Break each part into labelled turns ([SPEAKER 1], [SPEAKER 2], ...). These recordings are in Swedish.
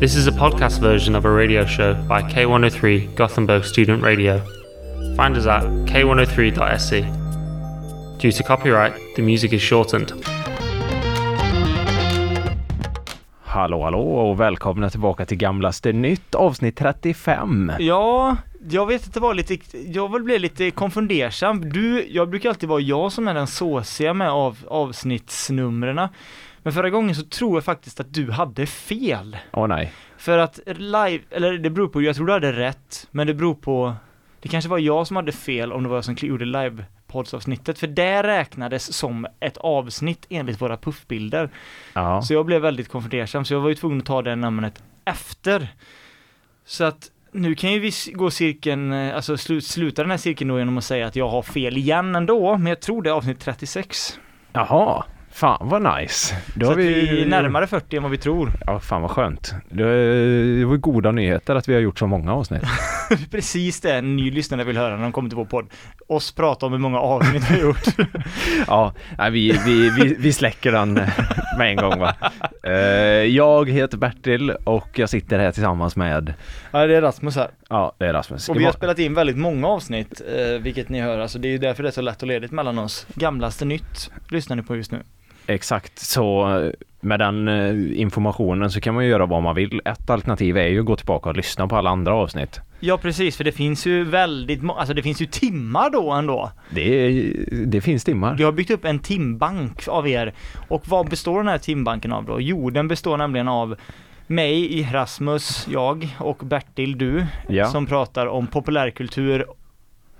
[SPEAKER 1] This is a podcast version of a radio show by K103 Gothenburg Student Radio. Find us at k103.se. E. Due to copyright, the music is shortened.
[SPEAKER 2] Hallå hallå och välkomna tillbaka till Gamlaste Nytt avsnitt 35.
[SPEAKER 3] Ja, jag vet inte vad lite, jag vill bli lite konfundersam. Du, jag brukar alltid vara jag som är den såsiga med av, avsnittsnumren. Men förra gången så tror jag faktiskt att du hade fel.
[SPEAKER 2] Åh nej.
[SPEAKER 3] För att live, eller det beror på, jag tror du hade rätt, men det beror på, det kanske var jag som hade fel om det var jag som gjorde live poddsavsnittet, för det räknades som ett avsnitt enligt våra puffbilder.
[SPEAKER 2] Ja.
[SPEAKER 3] Så jag blev väldigt konfundersam, så jag var ju tvungen att ta det namnet efter. Så att nu kan ju vi s- gå cirkeln, eh, alltså slu, sluta den här cirkeln då genom att säga att jag har fel igen ändå, men jag tror det är avsnitt 36.
[SPEAKER 2] Jaha. Fan vad nice. Då
[SPEAKER 3] så
[SPEAKER 2] har
[SPEAKER 3] att vi... är närmare 40 än vad vi tror.
[SPEAKER 2] Ja, fan vad skönt. Det det var goda nyheter att vi har gjort så många avsnitt.
[SPEAKER 3] Precis det en ny lyssnare vill höra när de kommer till vår podd. Oss prata om hur många avsnitt vi har gjort.
[SPEAKER 2] Ja, nej, vi, vi, vi, vi släcker den eh, med en gång va. Eh, Jag heter Bertil och jag sitter här tillsammans med,
[SPEAKER 3] ja, det är Rasmus här.
[SPEAKER 2] ja det är Rasmus.
[SPEAKER 3] Och vi har
[SPEAKER 2] Imorgon-
[SPEAKER 3] spelat in väldigt många avsnitt, eh, vilket ni hör, alltså det är ju därför det är så lätt och ledigt mellan oss. Gamlaste nytt lyssnar ni på just nu.
[SPEAKER 2] Exakt, så eh, med den eh, informationen så kan man ju göra vad man vill. Ett alternativ är ju att gå tillbaka och lyssna på alla andra avsnitt.
[SPEAKER 3] Ja precis, för det finns ju väldigt må- alltså det finns ju timmar då ändå.
[SPEAKER 2] Det, är, det finns timmar.
[SPEAKER 3] Vi har byggt upp en timbank av er. Och vad består den här timbanken av då? Jo, den består nämligen av mig, Rasmus, jag och Bertil, du,
[SPEAKER 2] Ja.
[SPEAKER 3] som pratar om populärkultur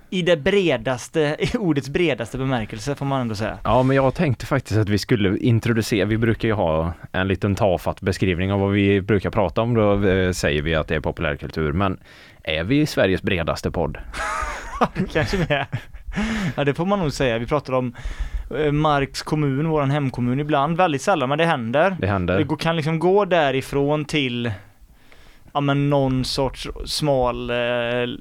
[SPEAKER 3] i det bredaste, i ordets bredaste bemärkelse får man ändå säga.
[SPEAKER 2] Ja, men jag tänkte faktiskt att vi skulle introducera, vi brukar ju ha en liten tafatt beskrivning av vad vi brukar prata om, då eh, säger vi att det är populärkultur, men är vi Sveriges bredaste podd?
[SPEAKER 3] Kanske det. Ja, det får man nog säga. Vi pratar om eh, Marks kommun, våran hemkommun ibland, väldigt sällan, men det händer.
[SPEAKER 2] Det händer.
[SPEAKER 3] Det går- kan liksom gå därifrån till ja, men någon sorts smal eh,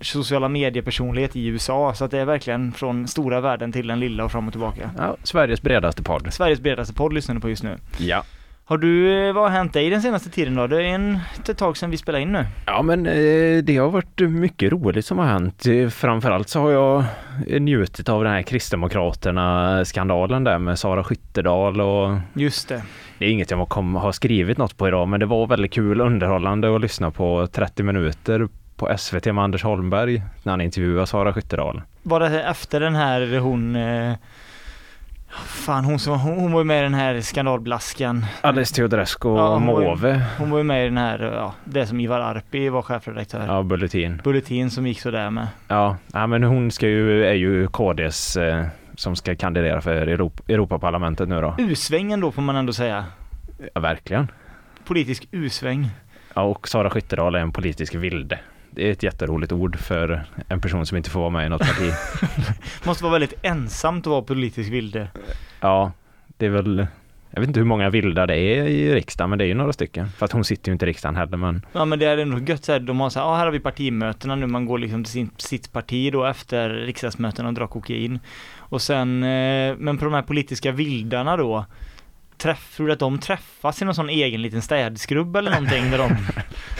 [SPEAKER 3] sociala mediepersonlighet i USA. Så att det är verkligen från stora världen till den lilla och fram och tillbaka.
[SPEAKER 2] Ja, Sveriges bredaste podd.
[SPEAKER 3] Sveriges bredaste podd lyssnar du på just nu.
[SPEAKER 2] Ja.
[SPEAKER 3] Har du, eh, vad har hänt dig den senaste tiden då? Det är en, ett tag sedan vi spelade in nu.
[SPEAKER 2] Ja men eh, det har varit mycket roligt som har hänt. Eh, Framförallt så har jag njutit av den här Kristdemokraterna-skandalen där med Sara Skyttedal och
[SPEAKER 3] Just det.
[SPEAKER 2] det är inget jag kom, har skrivit något på idag men det var väldigt kul underhållande att lyssna på 30 minuter på SVT med Anders Holmberg när han intervjuar Sara Skyttedal.
[SPEAKER 3] Var det efter den här hon eh, Fan hon, som, hon, hon var ju med i den här skandalblaskan.
[SPEAKER 2] Alice Teodorescu och
[SPEAKER 3] Ja, hon var ju-
[SPEAKER 2] Måwe,
[SPEAKER 3] Hon var ju med i den här, ja, det som Ivar Arpi var chefredaktör.
[SPEAKER 2] ja Bulletin.
[SPEAKER 3] Bulletin som gick sådär med.
[SPEAKER 2] Ja, ja men hon ska ju, är ju KDs eh, som ska kandidera för Europ- Europaparlamentet nu då.
[SPEAKER 3] U-svängen då får man ändå säga.
[SPEAKER 2] Ja, verkligen.
[SPEAKER 3] Politisk U-sväng.
[SPEAKER 2] Ja, och Sara Skyttedal är en politisk vilde. Det är ett jätteroligt ord för en person som inte får vara med i något parti.
[SPEAKER 3] Måste vara väldigt ensamt att vara politisk vilde.
[SPEAKER 2] Ja, det är väl... Jag vet inte hur många vilda det är i riksdagen, men det är ju några stycken. För att hon sitter ju inte i riksdagen heller, men
[SPEAKER 3] Ja men det är ändå gött såhär, de har såhär, ja ah, här har vi partimötena nu, man går liksom till sin, sitt parti då efter riksdagsmötena och drar kokain. Och sen, eh, men på de här politiska vildarna då, träff, tror du att de träffas i någon sån egen liten städskrubb eller någonting där de,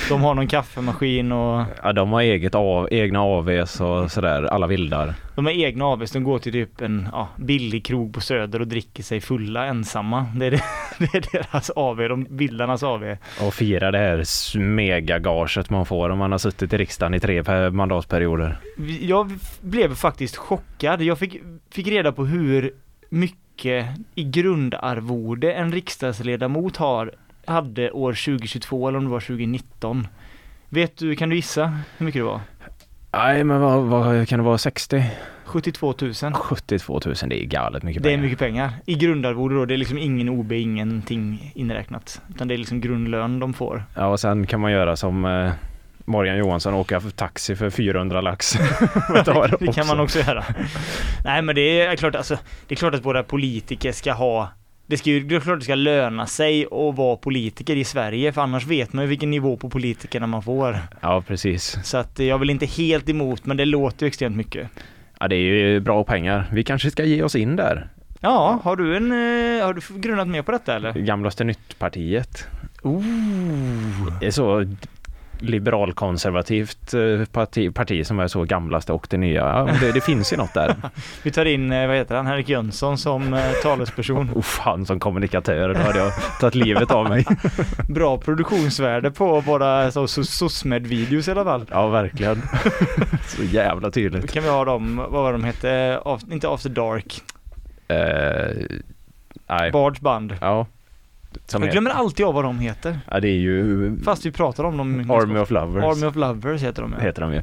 [SPEAKER 3] de har någon kaffemaskin och
[SPEAKER 2] ja, de har eget av, egna AVs och sådär, alla vildar.
[SPEAKER 3] de har egna AWs, de går till typ en ja, billig krog på söder och dricker sig fulla ensamma. Det är, det, det är deras AW, de vildarnas AW.
[SPEAKER 2] Och firar det här s- megagaget man får om man har suttit i riksdagen i tre per- mandatperioder.
[SPEAKER 3] Jag blev faktiskt chockad. Jag fick, fick reda på hur mycket i grundarvode en riksdagsledamot har, hade år 2022 eller om det var 2019. Vet du, kan du gissa hur mycket det var?
[SPEAKER 2] Nej, men vad, vad kan det vara? 60?
[SPEAKER 3] 72 000.
[SPEAKER 2] 72 000, det är galet mycket
[SPEAKER 3] Det är
[SPEAKER 2] pengar.
[SPEAKER 3] mycket pengar. I grundarvode då, det är liksom ingen OB, ingenting inräknat. Utan det är liksom grundlön de får.
[SPEAKER 2] Ja, och sen kan man göra som eh, Morgan Johansson, åka för taxi för 400 lax. Och ta
[SPEAKER 3] det kan man också göra. Nej men det är klart alltså, det är klart att våra politiker ska ha det, ska ju, det är klart det ska löna sig att vara politiker i Sverige, för annars vet man ju vilken nivå på politikerna man får.
[SPEAKER 2] Ja, precis.
[SPEAKER 3] Så att eh, jag vill inte helt emot, men det låter ju extremt mycket.
[SPEAKER 2] Ja, det är ju bra pengar. Vi kanske ska ge oss in där.
[SPEAKER 3] Ja, har du en, eh, har du grunnat mer på detta eller?
[SPEAKER 2] Gamlaste nytt-partiet.
[SPEAKER 3] Ooh.
[SPEAKER 2] Det är så liberalkonservativt eh, parti, parti som är så gamlaste och det nya. Ja, men det, det finns ju något där.
[SPEAKER 3] Vi tar in, eh, vad heter han, Henrik Jönsson som eh, talesperson.
[SPEAKER 2] Oh, fan som kommunikatör, då hade jag tagit livet av mig.
[SPEAKER 3] Bra produktionsvärde på våra så- so- SOSMED-videos i alla fall.
[SPEAKER 2] Ja, verkligen. Så jävla tydligt.
[SPEAKER 3] Kan vi ha dem, vad var de hette, Af inte After Dark,
[SPEAKER 2] Eh, nej.
[SPEAKER 3] Bards Band.
[SPEAKER 2] Ja. Som
[SPEAKER 3] Jag
[SPEAKER 2] heter,
[SPEAKER 3] glömmer alltid av vad de heter.
[SPEAKER 2] ja, det är ju
[SPEAKER 3] Fast vi pratar om dem.
[SPEAKER 2] Army of Lovers.
[SPEAKER 3] Army of Lovers heter de ja.
[SPEAKER 2] heter de ju.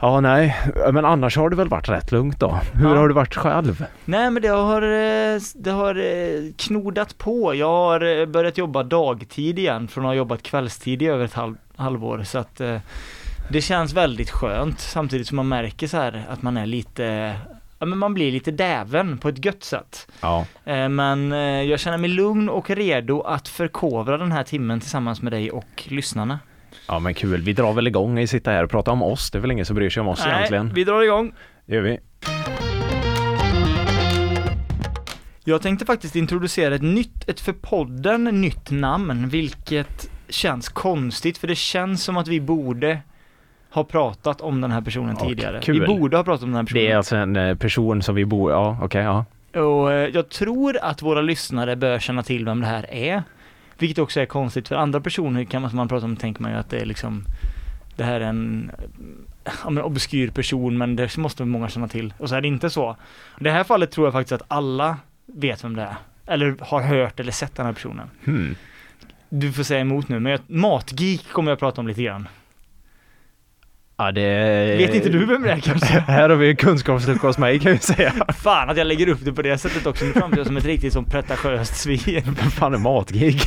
[SPEAKER 2] Ja, nej, men annars har det väl varit rätt lugnt då? Hur
[SPEAKER 3] Ja.
[SPEAKER 2] har du varit själv?
[SPEAKER 3] Nej men det har, eh, det har eh, knodat på. Jag har eh, börjat jobba dagtid igen från att ha jobbat kvällstid i över ett halv, halvår så att eh, det känns väldigt skönt samtidigt som man märker så här att man är lite, ja men man blir lite däven på ett gött sätt.
[SPEAKER 2] Ja,
[SPEAKER 3] Eh, Men eh, jag känner mig lugn och redo att förkovra den här timmen tillsammans med dig och lyssnarna.
[SPEAKER 2] ja men kul. Vi drar väl igång i sitta här och prata om oss. Det är väl ingen som bryr sig om oss Alltså, egentligen.
[SPEAKER 3] vi drar igång.
[SPEAKER 2] Det gör
[SPEAKER 3] Mm.
[SPEAKER 2] vi.
[SPEAKER 3] Jag tänkte faktiskt introducera ett nytt, ett för podden nytt namn, vilket känns konstigt för det känns som att vi borde ha pratat om den här personen
[SPEAKER 2] Ja,
[SPEAKER 3] tidigare.
[SPEAKER 2] kul.
[SPEAKER 3] Vi borde ha pratat om den här personen.
[SPEAKER 2] Det är alltså en eh, person som vi bor... Ja, okej, ja.
[SPEAKER 3] Och eh, jag tror att våra lyssnare bör känna till vem det här är. Vilket också är konstigt, för andra personer kan man, som man pratar om tänker man ju att det är liksom Det här är en ja, men obskyr person men det måste många känna till. Och så är det inte så. I det här fallet tror jag faktiskt att alla vet vem det är. Eller har hört eller sett den här personen.
[SPEAKER 2] Hmm.
[SPEAKER 3] Du får säga emot nu, men jag, matgeek kommer jag prata om lite grann.
[SPEAKER 2] Ja, det...
[SPEAKER 3] Vet inte du vem det är kanske?
[SPEAKER 2] Här har vi ju kunskapslucka hos mig kan vi säga.
[SPEAKER 3] Fan att jag lägger upp det på det sättet också, nu framstår jag som ett riktigt som pretentiöst svin.
[SPEAKER 2] Vad fan är matgig?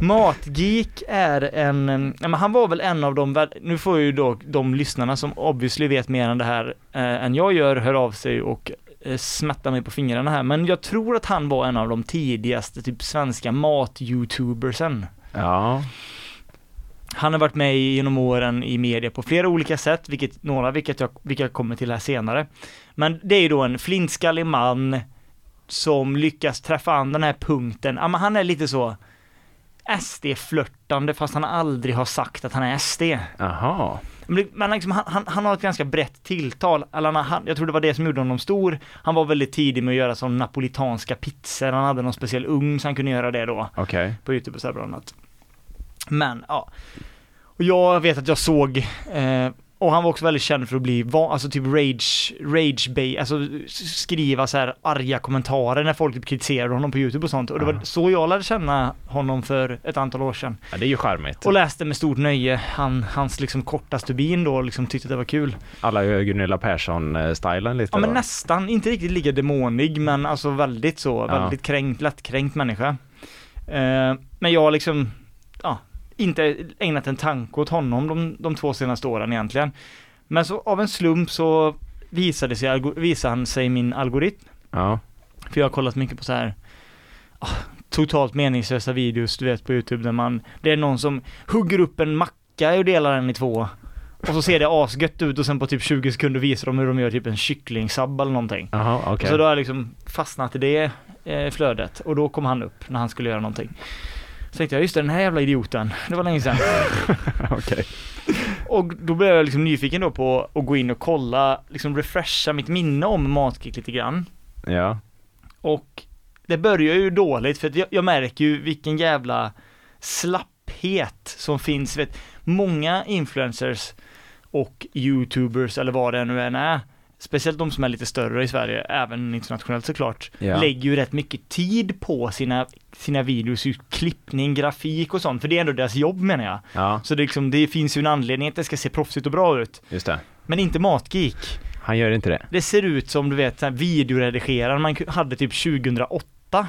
[SPEAKER 3] Matgeek är en, en- ja, men han var väl en av de, väl- nu får ju då de lyssnarna som obviously vet mer än det här eh, än jag gör, hör av sig och eh, smätta mig på fingrarna här, men jag tror att han var en av de tidigaste typ svenska mat-youtubersen.
[SPEAKER 2] Ja,
[SPEAKER 3] Han har varit med i- genom åren i media på flera olika sätt, vilket, några vilket jag, vilka jag kommer till här senare. Men det är ju då en flintskallig man som lyckas träffa an den här punkten. Ja, men han är lite så SD-flörtande fast han aldrig har sagt att han är SD.
[SPEAKER 2] aha.
[SPEAKER 3] Men det- Men liksom, han, han, han har ett ganska brett tilltal. Eller han- han, jag tror det var det som gjorde honom stor. Han var väldigt tidig med att göra sån napolitanska pizzor. Han hade någon speciell ugn så han kunde göra det då
[SPEAKER 2] Okej.
[SPEAKER 3] på Youtube och så här bland annat. Men ja. Och jag vet att jag såg, eh, och han var också väldigt känd för att bli, va- alltså typ rage, rage bay, alltså s- skriva så här arga kommentarer när folk typ kritiserade honom på Youtube och sånt. Och det var
[SPEAKER 2] Ja.
[SPEAKER 3] så jag lärde känna honom för ett antal år sedan.
[SPEAKER 2] Ja, det är ju charmigt.
[SPEAKER 3] Och läste med stort nöje han, hans liksom korta stubin då, och liksom tyckte att det var kul.
[SPEAKER 2] Alla gör Gunilla Persson-stylen lite
[SPEAKER 3] Ja men
[SPEAKER 2] då.
[SPEAKER 3] nästan, inte riktigt lika demonig men alltså väldigt så,
[SPEAKER 2] Ja.
[SPEAKER 3] väldigt kränkt, lättkränkt människa. Eh, men jag har liksom, ja, inte ägnat en tanke åt honom de, de två senaste åren egentligen. Men så av en slump så visade, sig, algo- visade han sig i min algoritm,
[SPEAKER 2] Ja.
[SPEAKER 3] för jag har kollat mycket på så här ah, totalt meningslösa videos du vet på youtube där man, det är någon som hugger upp en macka och delar den i två. Och så ser det asgött ut och sen på typ 20 sekunder visar de hur de gör typ en kycklingsabba eller någonting.
[SPEAKER 2] Aha, okej.
[SPEAKER 3] Så då har jag liksom fastnat i det eh, flödet och då kom han upp när han skulle göra någonting. Så tänkte jag, just det, den här jävla idioten, det var länge sedan.
[SPEAKER 2] Okej.
[SPEAKER 3] Och då blev jag liksom nyfiken då på att gå in och kolla, liksom refresha mitt minne om Matkick lite grann.
[SPEAKER 2] Ja.
[SPEAKER 3] Och det börjar ju dåligt för att jag, jag märker ju vilken jävla slapphet som finns. Vet, många influencers och youtubers eller vad det nu än är, speciellt de som är lite större i Sverige, även internationellt såklart,
[SPEAKER 2] Ja.
[SPEAKER 3] lägger ju rätt mycket tid på sina, sina videos, ju klippning, grafik och sånt, för det är ändå deras jobb menar jag.
[SPEAKER 2] Ja,
[SPEAKER 3] Så det, är liksom, det finns ju en anledning att det ska se proffsigt och bra ut,
[SPEAKER 2] just det.
[SPEAKER 3] men inte matgeek.
[SPEAKER 2] Han gör inte det.
[SPEAKER 3] Det ser ut som du vet, så här videoredigeraren man ku- hade typ 2008.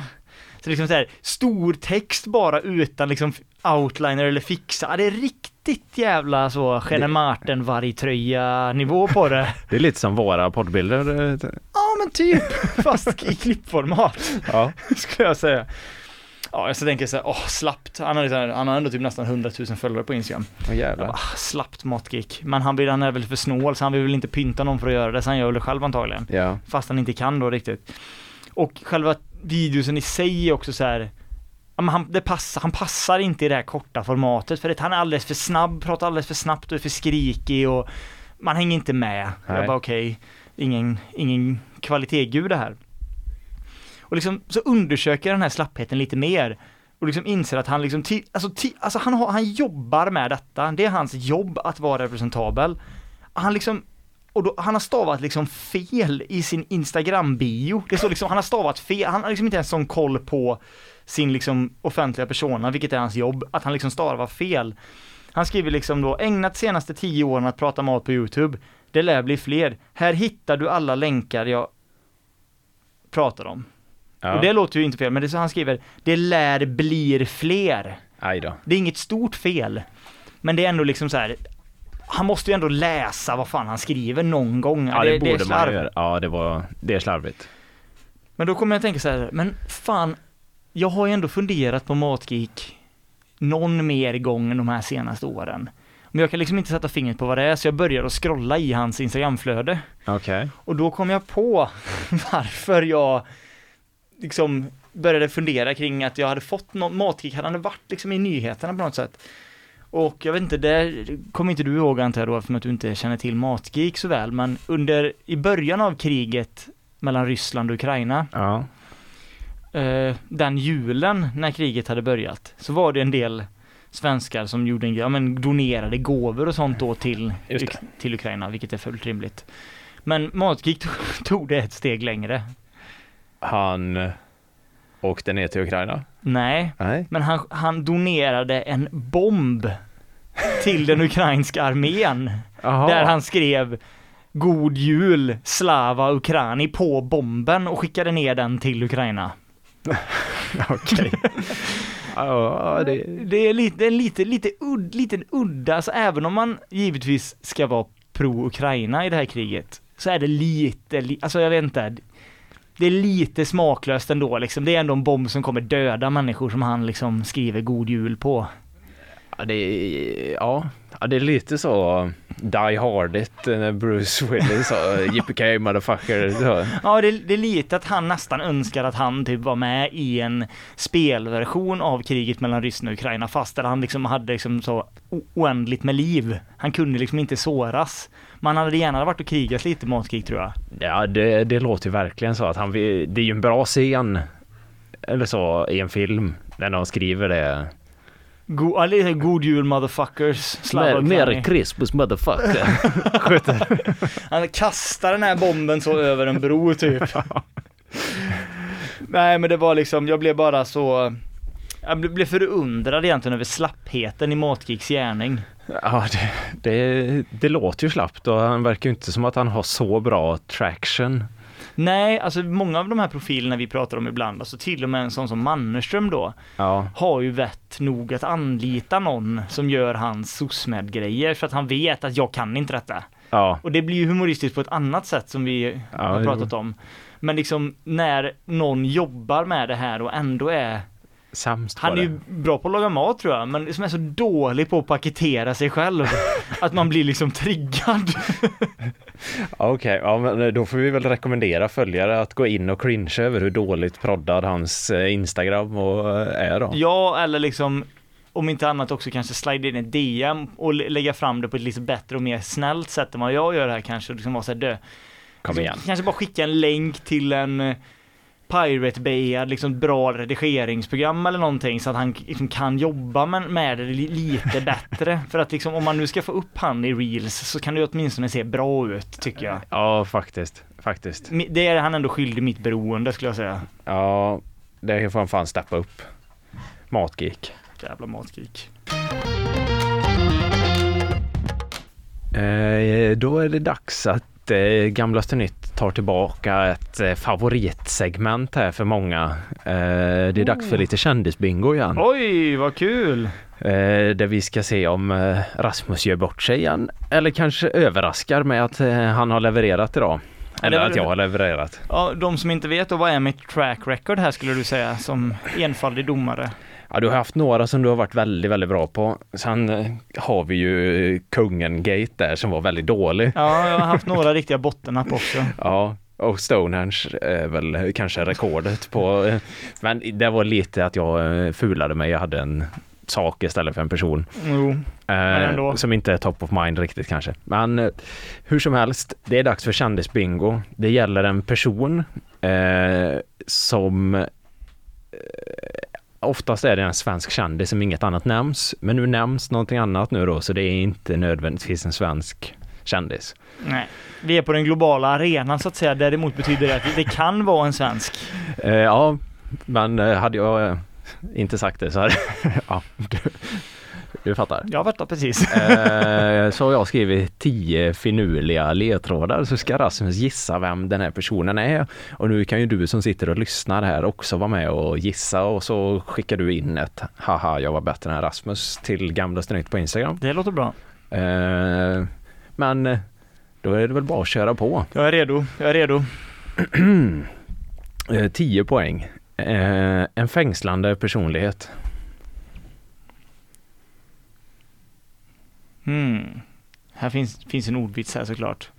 [SPEAKER 3] Så liksom så här, stor text bara utan liksom outliner eller fixa. Ja, Det är riktigt jävla så, Gene Martin vargtröja nivå på det.
[SPEAKER 2] Det är lite som våra poddbilder. eh,
[SPEAKER 3] Ja men typ, fast i klippformat
[SPEAKER 2] Ja.
[SPEAKER 3] skulle jag säga. Ja, jag så tänker så här, åh slappt. Han har, så här, han har ändå typ nästan 100 000 följare på Instagram.
[SPEAKER 2] Åh jävlar.
[SPEAKER 3] Ah, slappt matgeek. Men han, blir, han är väl för snål så han vill väl inte pynta någon för att göra det, så han gör väl det själv antagligen.
[SPEAKER 2] Ja.
[SPEAKER 3] fast han inte kan då riktigt. Och själva videosen i sig är också så här ja, men han, det passar, han passar inte i det här korta formatet för att han är alldeles för snabb, pratar alldeles för snabbt och är för skrikig och man hänger inte med.
[SPEAKER 2] Nej.
[SPEAKER 3] Jag bara okej, ingen, ingen kvalitetgud det här. Och liksom så undersöker jag den här slappheten lite mer och liksom inser att han liksom, ti- alltså, ti- alltså han, har, han jobbar med detta, det är hans jobb att vara representabel. Han liksom, och då, han har stavat liksom fel i sin Instagram-bio. Det står liksom, han har stavat fel, han har liksom inte ens sån koll på sin liksom offentliga persona, vilket är hans jobb, att han liksom stavar fel. Han skriver liksom då, ägnat senaste tio åren att prata mat på YouTube. Det lär bli fler. Här hittar du alla länkar jag pratar om. Och det
[SPEAKER 2] Ja.
[SPEAKER 3] låter ju inte fel, men det är så han skriver, det lär blir fler.
[SPEAKER 2] Aj då.
[SPEAKER 3] Det är inget stort fel, men det är ändå liksom så här. Han måste ju ändå läsa vad fan han skriver någon gång.
[SPEAKER 2] Ja, det,
[SPEAKER 3] är
[SPEAKER 2] borde man
[SPEAKER 3] slarv.
[SPEAKER 2] ju göra. Ja, det, var, det är slarvigt.
[SPEAKER 3] Men då kommer jag att tänka så här, men fan, jag har ju ändå funderat på Matgeek någon mer gång än de här senaste åren. Men jag kan liksom inte sätta fingret på vad det är, så jag börjar att scrolla i hans Instagramflöde.
[SPEAKER 2] Okej.
[SPEAKER 3] Och då kom jag på varför jag liksom började fundera kring att jag hade fått någon matkick, hade han varit liksom i nyheterna på något sätt. Och jag vet inte, det kommer inte du ihåg antar jag då eftersom att du inte känner till Matgeek så väl, men under, i början av kriget mellan Ryssland och Ukraina,
[SPEAKER 2] Ja.
[SPEAKER 3] eh, den julen när kriget hade börjat, så var det en del svenskar som gjorde en, ja, men donerade gåvor och sånt då till,
[SPEAKER 2] Just
[SPEAKER 3] Uk- till Ukraina, vilket är fullt rimligt. Men Matgeek tog- tog det ett steg längre.
[SPEAKER 2] Han eh, åkte ner till Ukraina.
[SPEAKER 3] Nej,
[SPEAKER 2] Nej.
[SPEAKER 3] men han, han donerade en bomb till den ukrainska armén.
[SPEAKER 2] Jaha.
[SPEAKER 3] Där han skrev God Jul Slava Ukraini på bomben och skickade ner den till Ukraina.
[SPEAKER 2] Okej. ja, det...
[SPEAKER 3] Det är lite, det är lite, lite udd, liten udda, alltså även om man givetvis ska vara pro-Ukraina i det här kriget, så är det lite, li- alltså jag vet inte, det är lite smaklöst ändå liksom. Det är ändå en bomb som kommer döda människor som han liksom skriver God Jul på.
[SPEAKER 2] Ja, det är, ja. ja, det är lite så eh, Die Hardigt när Bruce Willis sa eh, Yippee motherfucker. Så.
[SPEAKER 3] Ja, det, det är lite att han nästan önskar att han typ var med i en spelversion av kriget mellan Ryssland och Ukraina, fast där han liksom hade liksom så o- oändligt med liv. Han kunde liksom inte såras. Man hade gärna varit och krigat lite matkrig tror jag.
[SPEAKER 2] Ja, det, det låter ju verkligen så att han vill, det är ju en bra scen. Eller så i en film när de skriver det.
[SPEAKER 3] Go, ja, lite god jul motherfuckers,
[SPEAKER 2] Mer,
[SPEAKER 3] Slava Ukraini.
[SPEAKER 2] mer Christmas motherfucker.
[SPEAKER 3] Han kastar den här bomben så över en bro typ. Nej men det var liksom, jag blev bara så jag blev- blev förundrad egentligen över slappheten i Matgeeks gärning.
[SPEAKER 2] ja, det, det, det låter ju slappt och han verkar ju inte som att han har så bra traction.
[SPEAKER 3] Nej, alltså många av de här profilerna vi pratar om ibland, alltså till och med en sån som Mannerström då,
[SPEAKER 2] Ja,
[SPEAKER 3] har ju vett nog att anlita någon som gör hans SOSMED-grejer för att han vet att jag kan inte detta.
[SPEAKER 2] ja,
[SPEAKER 3] Och det blir ju humoristiskt på ett annat sätt som vi
[SPEAKER 2] Ja,
[SPEAKER 3] har
[SPEAKER 2] jo.
[SPEAKER 3] pratat om. Men liksom när någon jobbar med det här och ändå är,
[SPEAKER 2] sämst
[SPEAKER 3] han
[SPEAKER 2] på
[SPEAKER 3] är
[SPEAKER 2] det.
[SPEAKER 3] ju bra på att laga mat tror jag, men som är så dålig på att paketera sig själv, att man blir liksom triggad.
[SPEAKER 2] Ja, Okej, ja, men eh, då får vi väl rekommendera följare att gå in och cringe över hur dåligt proddad hans eh, Instagram och eh, är då.
[SPEAKER 3] Ja, eller liksom om inte annat också kanske slide in ett DM och lä- lägga fram det på ett lite bättre och mer snällt sätt än vad jag gör här kanske. och Liksom vara så här, dö.
[SPEAKER 2] Kom
[SPEAKER 3] Så
[SPEAKER 2] igen.
[SPEAKER 3] Kanske bara skicka en länk till en eh, Pirate Bay, liksom bra redigeringsprogram eller någonting så att han liksom kan jobba med, med det li- lite bättre. För att liksom om man nu ska få upp han i reels så kan det ju åtminstone se bra ut tycker jag.
[SPEAKER 2] Ja, faktiskt. Faktiskt.
[SPEAKER 3] Mi- Det är han ändå skyldig mitt beroende skulle jag säga.
[SPEAKER 2] Ja, det får han fan steppa upp. Matgeek.
[SPEAKER 3] Jävla matkrig.
[SPEAKER 2] Eh, då är det dags att eh, Gamlaste Nytt tar tillbaka ett eh, favoritsegment här för många. Eh, det är dags för
[SPEAKER 3] Oh.
[SPEAKER 2] lite kändisbingo igen.
[SPEAKER 3] Oj, vad kul!
[SPEAKER 2] Eh, där vi ska se om eh, Rasmus gör bort sig igen. Eller kanske överraskar med att eh, han har levererat idag. Eller
[SPEAKER 3] det var-
[SPEAKER 2] att jag har levererat.
[SPEAKER 3] Ja, de som inte vet då, vad är mitt track record här skulle du säga som enfaldig domare?
[SPEAKER 2] Ja, du har haft några som du har varit väldigt, väldigt bra på. Sen eh, har vi ju eh, Kungen-gate där som var väldigt dålig.
[SPEAKER 3] Ja, jag har haft några riktiga bottennapp också.
[SPEAKER 2] Ja, Och Stonehenge är väl kanske rekordet på... Men det var lite att jag eh, fulade mig. Jag hade en sak istället för en person.
[SPEAKER 3] Jo.
[SPEAKER 2] Eh,
[SPEAKER 3] ändå.
[SPEAKER 2] som inte är top of mind riktigt kanske. Men eh, hur som helst, det är dags för kändisbingo. Det gäller en person eh, som eh, oftast är det en svensk kändis som inget annat nämns. Men nu nämns någonting annat nu då, så det är inte nödvändigtvis en svensk kändis.
[SPEAKER 3] Nej. Vi är på den globala arenan så att säga. Däremot betyder det att det kan vara en svensk.
[SPEAKER 2] Eh, ja, men eh, hade jag eh, inte sagt det så hade... ja, du, du fattar.
[SPEAKER 3] Jag har varit där precis.
[SPEAKER 2] Eh, så har jag skrivit tio finurliga ledtrådar så ska Rasmus gissa vem den här personen är. Och nu kan ju du som sitter och lyssnar här också vara med och gissa och så skickar du in ett haha jag var bättre än Rasmus till gamla nytt på Instagram.
[SPEAKER 3] Det låter bra.
[SPEAKER 2] Eh, men eh, då är det väl bara att köra på.
[SPEAKER 3] Jag är redo. Jag är redo.
[SPEAKER 2] Eh, 10 poäng. Eh, en fängslande personlighet.
[SPEAKER 3] Hmm. Här finns, finns en ordvits här såklart.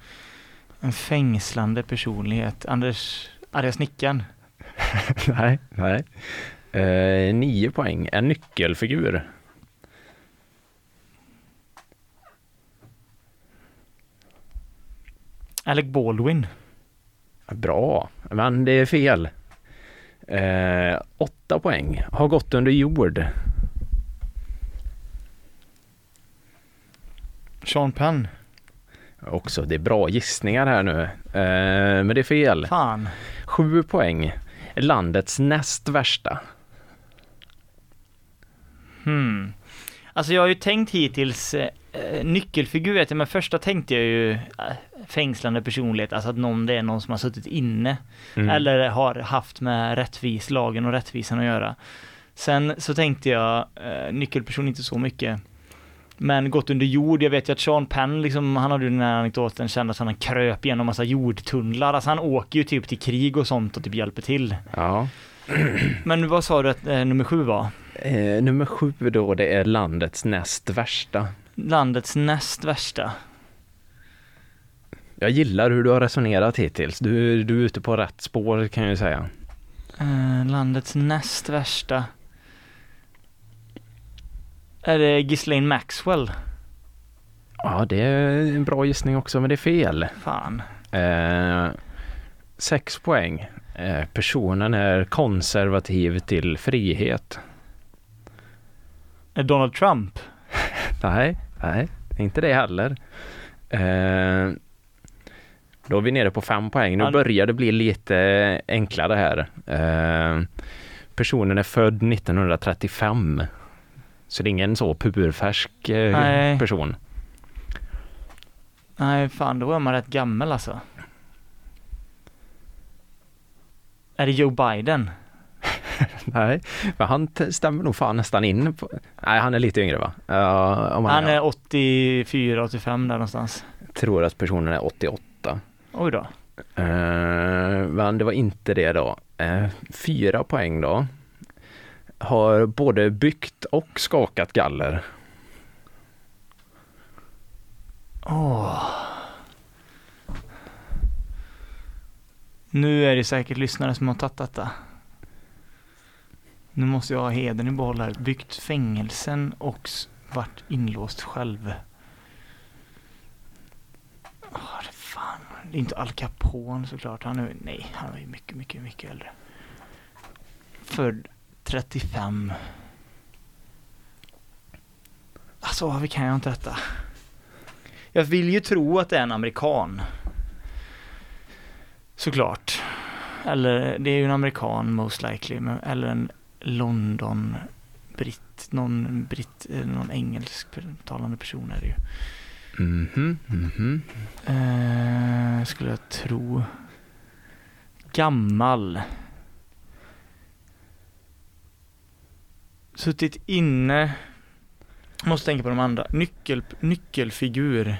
[SPEAKER 3] En fängslande personlighet. Anders, arga snickaren.
[SPEAKER 2] nej, nej. Eh, 9 poäng. En nyckelfigur.
[SPEAKER 3] Alec Baldwin.
[SPEAKER 2] Bra, men det är fel. Eh, åtta poäng. Har gått under jord.
[SPEAKER 3] Sean Penn.
[SPEAKER 2] Också, det är bra gissningar här nu. Eh, men det är fel.
[SPEAKER 3] Fan.
[SPEAKER 2] Sju poäng. Landets näst värsta.
[SPEAKER 3] Hmm. Alltså jag har ju tänkt hittills eh, eh, nyckelfigur vet jag, men första tänkte jag ju eh, fängslande personlighet, alltså att någon, det är någon som har suttit inne
[SPEAKER 2] Mm.
[SPEAKER 3] eller har haft med rättvis, lagen och rättvisan att göra. Sen så tänkte jag eh, nyckelperson inte så mycket. Men gått under jord, jag vet ju att Sean Penn liksom, han hade ju den här anekdoten, kände att han kröp igenom massa jordtunnlar, alltså han åker ju typ till krig och sånt och typ hjälper till.
[SPEAKER 2] Ja.
[SPEAKER 3] Men vad sa du att eh, nummer sju var?
[SPEAKER 2] Eh, nummer sju då, det är landets näst värsta.
[SPEAKER 3] Landets näst värsta.
[SPEAKER 2] Jag gillar hur du har resonerat hittills. Du, du är ute på rätt spår kan jag ju säga.
[SPEAKER 3] Eh, landets näst värsta. Är det Ghislaine Maxwell?
[SPEAKER 2] Ja, det är en bra gissning också, men det är fel.
[SPEAKER 3] Fan.
[SPEAKER 2] Eh, sex poäng. Eh, personen är konservativ till frihet.
[SPEAKER 3] Eh, Donald Trump?
[SPEAKER 2] Nej, nej, inte det heller. Eh, då är vi nere på fem poäng. Nu
[SPEAKER 3] Ja.
[SPEAKER 2] börjar det bli lite enklare här. Eh, personen är född 1935. Så det är ingen så purfärsk eh,
[SPEAKER 3] Nej.
[SPEAKER 2] person.
[SPEAKER 3] Nej, fan då är man rätt gammal alltså. Är det Joe Biden?
[SPEAKER 2] Nej, men han t- stämmer nog fan nästan in på... Nej, han är lite yngre va? Ja, om
[SPEAKER 3] Han är 84, 85 där någonstans.
[SPEAKER 2] tror att personen är 88.
[SPEAKER 3] Oj då.
[SPEAKER 2] Eh, men det var inte det då. Eh, fyra poäng då. Har både byggt och skakat galler.
[SPEAKER 3] Åh. Nu är det säkert lyssnare som har tagit detta. Nu måste jag ha heden i behåll här. Byggt fängelsen och s- varit inlåst själv. Åh, Ah, det fan. Det är inte Al Capone såklart. Han är, nej, han är ju mycket, mycket, mycket äldre. Född 35. Alltså, varför kan jag inte detta? Jag vill ju tro att det är en amerikan. Såklart. Eller det är ju en amerikan most likely, men, eller en London britt, någon britt, eh, någon engelsktalande person är det ju.
[SPEAKER 2] Mhm, mhm.
[SPEAKER 3] Eh, skulle jag tro. Gammal. Suttit inne. Måste tänka på de andra. Nyckel, nyckelfigur.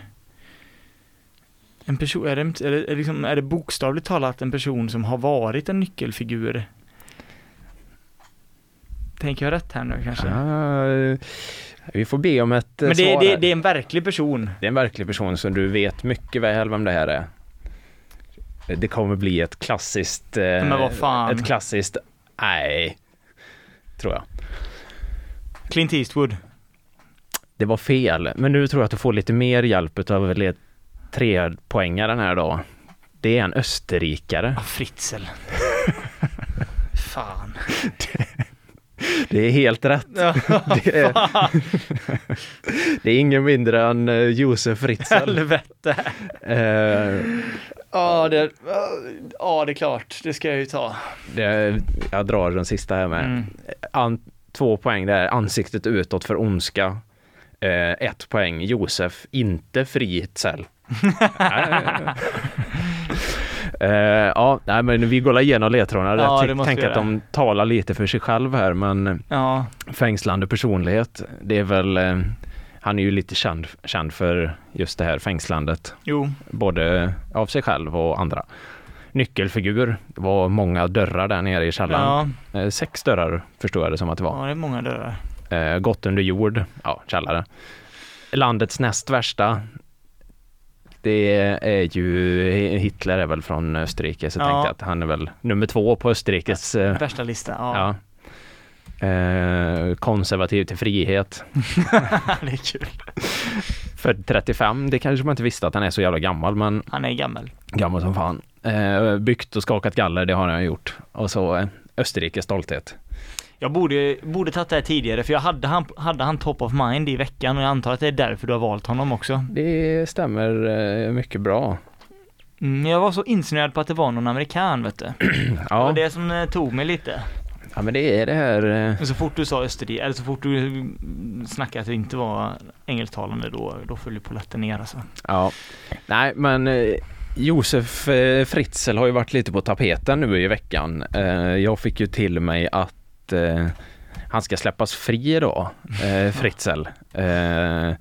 [SPEAKER 3] En person, är det, är, det, är, det liksom, är det bokstavligt talat en person som har varit en nyckelfigur? Tänker jag rätt här nu kanske?
[SPEAKER 2] Ah, vi får be om ett eh,
[SPEAKER 3] Men det,
[SPEAKER 2] svar
[SPEAKER 3] det,
[SPEAKER 2] här.
[SPEAKER 3] det är en verklig person.
[SPEAKER 2] det är en verklig person som du vet mycket väl vem det här är. Det kommer bli ett klassiskt... eh,
[SPEAKER 3] Men vad fan.
[SPEAKER 2] Ett klassiskt nej, tror jag.
[SPEAKER 3] Clint Eastwood.
[SPEAKER 2] Det var fel, men nu tror jag att du får lite mer hjälp av le- tre poängar den här dagen. Det är en österrikare.
[SPEAKER 3] Ah, Fritzl. fan.
[SPEAKER 2] Det är helt rätt. Det är, det är ingen mindre än eh, Josef Fritzl.
[SPEAKER 3] Helvete.
[SPEAKER 2] Eh,
[SPEAKER 3] Ja, det, ja, det är klart. Det ska jag ju ta.
[SPEAKER 2] det, jag drar den sista här med.
[SPEAKER 3] Mm.
[SPEAKER 2] An, två poäng där, ansiktet utåt för ondska. Eh, ett poäng, Josef, inte Fritzl. Eh, ja, nej, men vi går igenom ledtrådarna.
[SPEAKER 3] Ja,
[SPEAKER 2] jag
[SPEAKER 3] det
[SPEAKER 2] ty-
[SPEAKER 3] måste vi
[SPEAKER 2] tänker att
[SPEAKER 3] göra.
[SPEAKER 2] de talar lite för sig själv här, men
[SPEAKER 3] Ja,
[SPEAKER 2] fängslande personlighet, det är väl, eh, han är ju lite känd, känd för just det här fängslandet,
[SPEAKER 3] jo.
[SPEAKER 2] både av sig själv och andra. Nyckelfigur, det var många dörrar där nere i källaren.
[SPEAKER 3] Ja,
[SPEAKER 2] Eh, Sex dörrar förstår jag det som att det var.
[SPEAKER 3] ja, det är många dörrar.
[SPEAKER 2] Eh, gått under jord, ja, källare. Landets näst värsta. Det är ju, Hitler är väl från Österrike, så
[SPEAKER 3] Ja.
[SPEAKER 2] tänkte jag att han är väl nummer två på Österrikes, eh,
[SPEAKER 3] Värsta lista. Ja,
[SPEAKER 2] ja. Eh, konservativ till frihet.
[SPEAKER 3] det är kul.
[SPEAKER 2] Född 35, det kanske man inte visste att han är så jävla gammal, men
[SPEAKER 3] Han är gammal.
[SPEAKER 2] gammal som fan. Eh, byggt och skakat galler, det har han gjort. Och så eh, Österrikes stolthet.
[SPEAKER 3] Jag borde, borde tagit det här tidigare, för jag hade han, hade han top of mind i veckan och jag antar att det är därför du har valt honom också.
[SPEAKER 2] Det stämmer eh, mycket bra.
[SPEAKER 3] Mm, jag var så insnöad på att det var någon amerikan, vet du. Det var
[SPEAKER 2] Ja,
[SPEAKER 3] det som eh, tog mig lite.
[SPEAKER 2] ja men det är det här eh,
[SPEAKER 3] Men så fort du sa Österrike, eller så fort du mm, snackade att det inte var engelsktalande, då, då föll ju polletten ner alltså.
[SPEAKER 2] Ja, nej men eh, Josef eh, Fritzl har ju varit lite på tapeten nu i veckan. Eh, jag fick ju till mig att eh, han ska släppas fri idag, eh, Fritzl. Eh,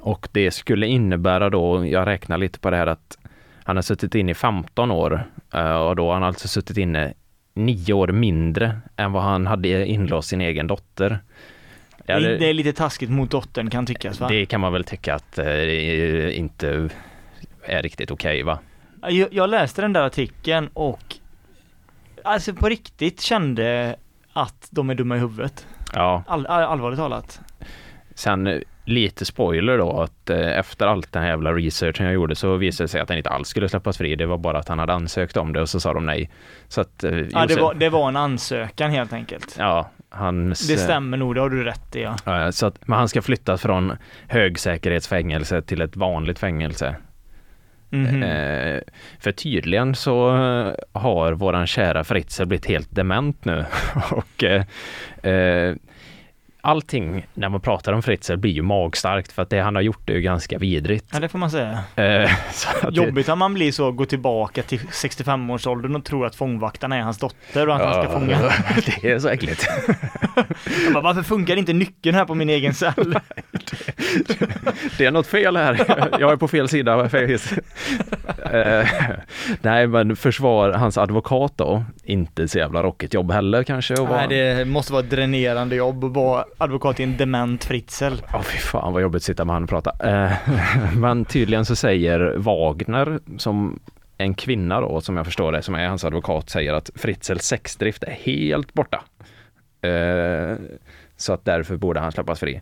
[SPEAKER 2] och det skulle innebära då, jag räknar lite på det här att han har suttit inne i 15 år eh, och då har han alltså suttit inne 9 år mindre än vad han hade inlåst sin egen dotter. Ja,
[SPEAKER 3] det, det är lite taskigt mot dottern kan tyckas Typ, va?
[SPEAKER 2] det kan man väl tycka att eh, det inte är riktigt okej va?
[SPEAKER 3] Jag, jag läste den där artikeln och alltså på riktigt kände att de är dumma i huvudet.
[SPEAKER 2] Ja,
[SPEAKER 3] All, all, allvarligt talat.
[SPEAKER 2] sen eh, lite spoiler då att eh, efter allt den här jävla researchen jag gjorde så visade det sig att han inte alls skulle släppas fri. Det var bara att han hade ansökt om det och så sa de nej. Så att... eh,
[SPEAKER 3] Ja, det,
[SPEAKER 2] Josef-
[SPEAKER 3] var, det var en ansökan helt enkelt.
[SPEAKER 2] Ja, hans...
[SPEAKER 3] Det
[SPEAKER 2] eh,
[SPEAKER 3] stämmer nog, det har du rätt i ja.
[SPEAKER 2] ja, Så att, men han ska flyttas från högsäkerhetsfängelse till ett vanligt fängelse.
[SPEAKER 3] Mhm.
[SPEAKER 2] Eh, för tydligen så eh, har våran kära Fritzl blivit helt dement nu. och eh, eh, allting när man pratar om Fritzl blir ju magstarkt för att det han har gjort är ju ganska vidrigt.
[SPEAKER 3] Ja det får man säga.
[SPEAKER 2] Eh, så att det,
[SPEAKER 3] Jobbigt om man blir så, går tillbaka till 65-årsåldern och tror att fångvaktarna är hans dotter och att han ska
[SPEAKER 2] Ja,
[SPEAKER 3] fånga.
[SPEAKER 2] det är så äckligt.
[SPEAKER 3] Jag bara, varför funkar inte nyckeln här på min egen cell?
[SPEAKER 2] Det är något fel här. Jag är på fel sida. av fängelse. Eh, Nej, men försvar hans advokat då. Inte så jävla rockigt jobb heller kanske. att vara-
[SPEAKER 3] Nej det måste vara ett dränerande jobb att vara advokat i en dement Fritzl.
[SPEAKER 2] Ja, fy fan vad jobbigt att sitta med han och prata. Eh, Men tydligen så säger Wagner, som en kvinna då, som jag förstår det, som är hans advokat, säger att Fritzels sexdrift är helt borta. Eh, Så att därför borde han släppas fri.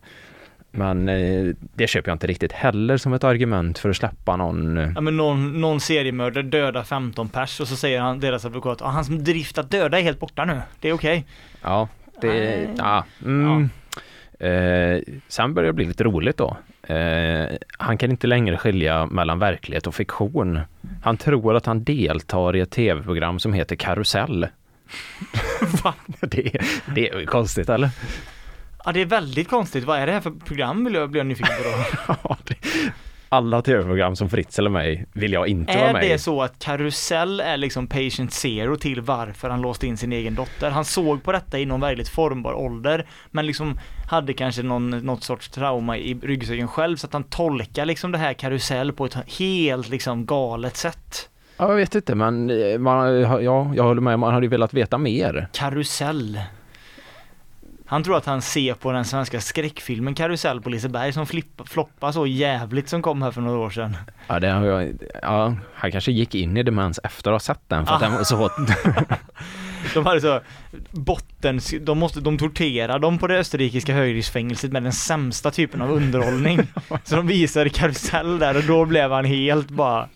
[SPEAKER 2] Men eh, det köper jag inte riktigt heller som ett argument för att släppa någon. eh,
[SPEAKER 3] Ja men någon, någon seriemördare dödar 15 pers och så säger han, deras advokat, ah, hans drift att döda är helt borta nu, det är okej.
[SPEAKER 2] Ja, det...
[SPEAKER 3] Nej.
[SPEAKER 2] Ja, mm. Eh, sen börjar det bli lite roligt då. Eh, han kan inte längre skilja mellan verklighet och fiktion. Han tror att han deltar i ett tv-program som heter Karusell.
[SPEAKER 3] Va?
[SPEAKER 2] Det, det är ju konstigt eller?
[SPEAKER 3] Ja det är väldigt konstigt, vad är det här för program vill jag bli nyfiken på då?
[SPEAKER 2] Ja, det- Alla tv-program som Fritz eller mig vill jag inte vara
[SPEAKER 3] är
[SPEAKER 2] med i.
[SPEAKER 3] det så att Karusell är liksom patient zero till varför han låste in sin egen dotter? Han såg på detta i någon väldigt formbar ålder, men liksom hade kanske någon, något sorts trauma i ryggsäcken själv, så att han tolkar liksom det här Karusell på ett helt liksom galet sätt.
[SPEAKER 2] Ja, jag vet inte men eh, man, ja, jag håller med, man hade ju velat veta mer.
[SPEAKER 3] Karusell. Han tror att han ser på den svenska skräckfilmen Karusell på Liseberg som flippa, floppar så jävligt som kom här för några år sedan.
[SPEAKER 2] Ja, det har jag, ja, han kanske gick in i demens efter att ha sett den för att
[SPEAKER 3] Ah.
[SPEAKER 2] den var så
[SPEAKER 3] De hade så botten, de, måste, de torterade dem på det österrikiska högriskfängelset med den sämsta typen av underhållning. Så de visade Karusell där och då blev han helt bara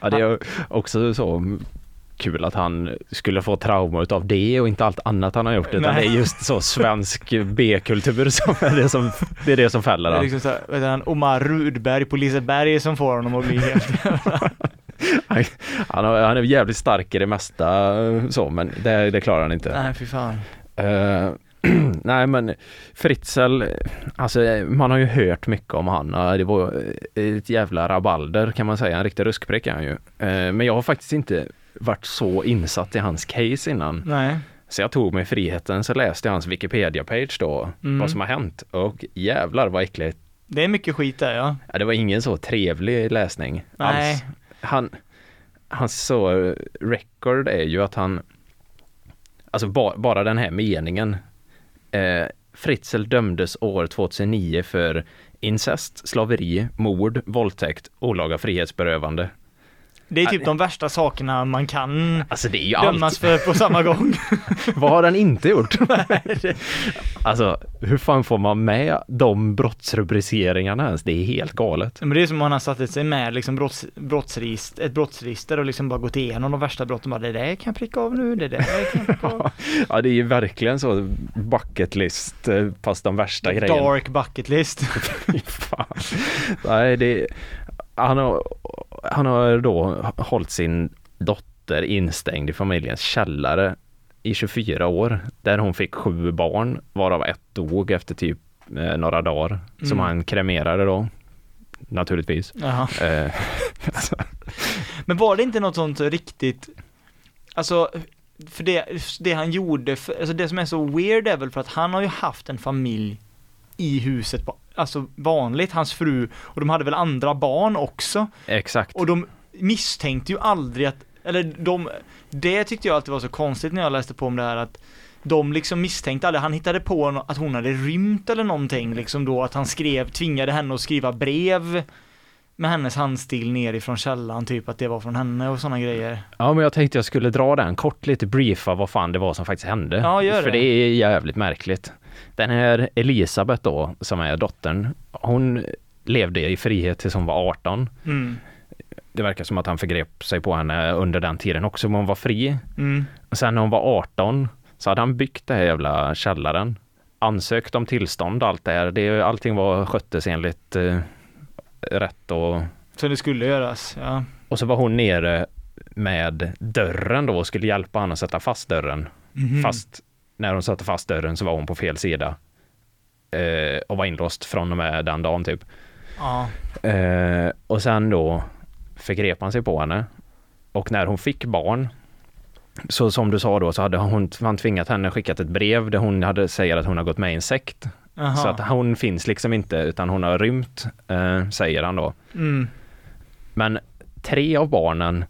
[SPEAKER 2] Ja, det är också så kul att han skulle få trauma utav det och inte allt annat han har gjort utan
[SPEAKER 3] Nej.
[SPEAKER 2] det är just så svensk B-kultur som är det som, det är det som fäller
[SPEAKER 3] Det är
[SPEAKER 2] han.
[SPEAKER 3] liksom så här, vad heter han, Omar Rudberg på Liseberg som får honom att bli helt...
[SPEAKER 2] Han, han, har- han är jävligt stark i det mesta eh, så men det, det klarar han inte.
[SPEAKER 3] Nej fy fan.
[SPEAKER 2] Eh, nej men Fritzl, alltså man har ju hört mycket om han. Eh, Det var eh, ett jävla rabalder kan man säga, en riktig ruskprick är han ju. Eh, men jag har faktiskt inte varit så insatt i hans case innan.
[SPEAKER 3] Nej.
[SPEAKER 2] Så jag tog mig friheten så läste jag hans Wikipedia-page då,
[SPEAKER 3] Mm.
[SPEAKER 2] vad som har hänt. Och jävlar vad äckligt.
[SPEAKER 3] Det är mycket skit där ja.
[SPEAKER 2] Ja, det var ingen så trevlig läsning
[SPEAKER 3] Nej.
[SPEAKER 2] alls. Han, hans så eh, record är ju att han, alltså ba, bara den här meningen. Eh, Fritzl dömdes år 2009 för incest, slaveri, mord, våldtäkt, olaga frihetsberövande.
[SPEAKER 3] Det är typ de värsta sakerna man kan
[SPEAKER 2] Alltså det är ju
[SPEAKER 3] dömas
[SPEAKER 2] allt.
[SPEAKER 3] för på samma gång.
[SPEAKER 2] Vad har han inte gjort? alltså hur fan får man med de brottsrubriceringarna ens? Det är helt galet.
[SPEAKER 3] Men det är som om han har satt sig med liksom brotts, brottsregister, ett brottsregister och liksom bara gått igenom de värsta brotten. Bara, det där kan jag pricka av nu, det där kan jag pricka av.
[SPEAKER 2] Ja det är ju verkligen så bucket list eh, fast de värsta grejerna.
[SPEAKER 3] Dark bucket list.
[SPEAKER 2] Fy fan. Nej, det, han, har, han har då hållit sin dotter instängd i familjens källare i 24 år där hon fick sju barn varav ett dog efter typ eh, några dagar som
[SPEAKER 3] Mm.
[SPEAKER 2] han kremerade då naturligtvis.
[SPEAKER 3] Jaha.
[SPEAKER 2] Eh, alltså,
[SPEAKER 3] Men var det inte något sånt riktigt, alltså, för det, det han gjorde, för, alltså det som är så weird är väl för att han har ju haft en familj i huset, ba- alltså vanligt, hans fru, och de hade väl andra barn också,
[SPEAKER 2] exakt.
[SPEAKER 3] och de misstänkte ju aldrig att, eller de, det tyckte jag alltid var så konstigt när jag läste på om det här att de liksom misstänkte aldrig, han hittade på no- att hon hade rymt eller någonting liksom då, att han skrev, tvingade henne att skriva brev med hennes handstil nerifrån källan, typ att det var från henne och sådana grejer.
[SPEAKER 2] Ja men jag tänkte jag skulle dra den kort lite, briefa vad fan det var som faktiskt hände.
[SPEAKER 3] Ja, gör
[SPEAKER 2] För
[SPEAKER 3] det.
[SPEAKER 2] det är jävligt märkligt. Den här Elisabeth då, som är dottern, hon levde i frihet tills hon var 18.
[SPEAKER 3] Mm.
[SPEAKER 2] Det verkar som att han förgrep sig på henne under den tiden också, men hon var fri.
[SPEAKER 3] Mm.
[SPEAKER 2] Och sen när hon var 18 så hade han byggt den här jävla källaren. Ansökt om tillstånd och allt det här. Det, allting var sköttes enligt eh, rätt och
[SPEAKER 3] Så det skulle göras, ja.
[SPEAKER 2] och så var hon nere med dörren då och skulle hjälpa honom att sätta fast dörren. Fast när hon satte fast dörren så var hon på fel sida. Eh, och var inlåst från och med den dagen typ.
[SPEAKER 3] Ja.
[SPEAKER 2] Eh, och sen då förgrep han sig på henne. Och när hon fick barn, så som du sa då, så hade hon, han tvingat henne skickat ett brev där hon hade, säger att hon har gått med i en sekt.
[SPEAKER 3] Jaha.
[SPEAKER 2] Så att hon finns liksom inte, utan hon har rymt, eh, säger han då.
[SPEAKER 3] Mm.
[SPEAKER 2] Men tre av barnen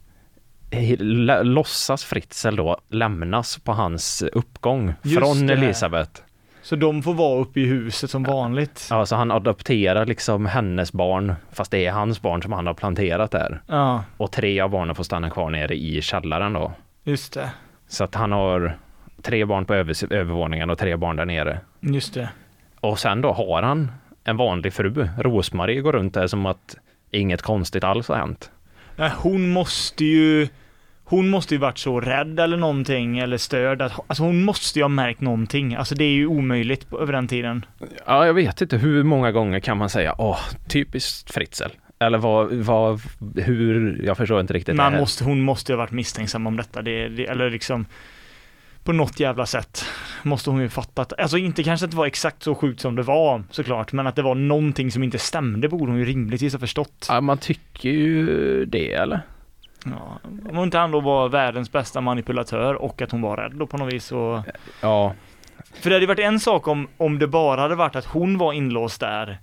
[SPEAKER 2] he- lä- låtsas Fritzl då lämnas på hans uppgång
[SPEAKER 3] Just
[SPEAKER 2] från
[SPEAKER 3] det.
[SPEAKER 2] Elisabeth.
[SPEAKER 3] Så de får vara uppe i huset som vanligt.
[SPEAKER 2] Ja, så han adopterar liksom hennes barn, fast det är hans barn som han har planterat där.
[SPEAKER 3] Ja,
[SPEAKER 2] Och tre av barnen får stanna kvar nere i källaren då.
[SPEAKER 3] just det.
[SPEAKER 2] Så att han har tre barn på över, övervåningen och tre barn där nere.
[SPEAKER 3] Just det.
[SPEAKER 2] Och sen då har han en vanlig fru, Rosmarie, går runt där som att inget konstigt alls har hänt.
[SPEAKER 3] Nej, Äh, hon måste ju hon måste ju varit så rädd eller någonting, eller störd, att, alltså hon måste ju ha märkt någonting. Alltså det är ju omöjligt på, över den tiden.
[SPEAKER 2] Ja, jag vet inte. Hur många gånger kan man säga åh, typiskt Fritzl? Eller vad, vad, hur, jag förstår inte riktigt. det
[SPEAKER 3] Man
[SPEAKER 2] här.
[SPEAKER 3] måste, hon måste ju ha varit misstänksam om detta, det, det, eller liksom på något jävla sätt måste hon ju fattat. Alltså inte kanske att det var exakt så sjukt som det var såklart, men att det var någonting som inte stämde borde hon ju rimligtvis ha förstått.
[SPEAKER 2] Ja, man tycker ju det, eller?
[SPEAKER 3] Ja, om inte han då var världens bästa manipulatör och att hon var rädd då på något vis så...
[SPEAKER 2] Ja.
[SPEAKER 3] För det hade varit en sak om, om det bara hade varit att hon var inlåst där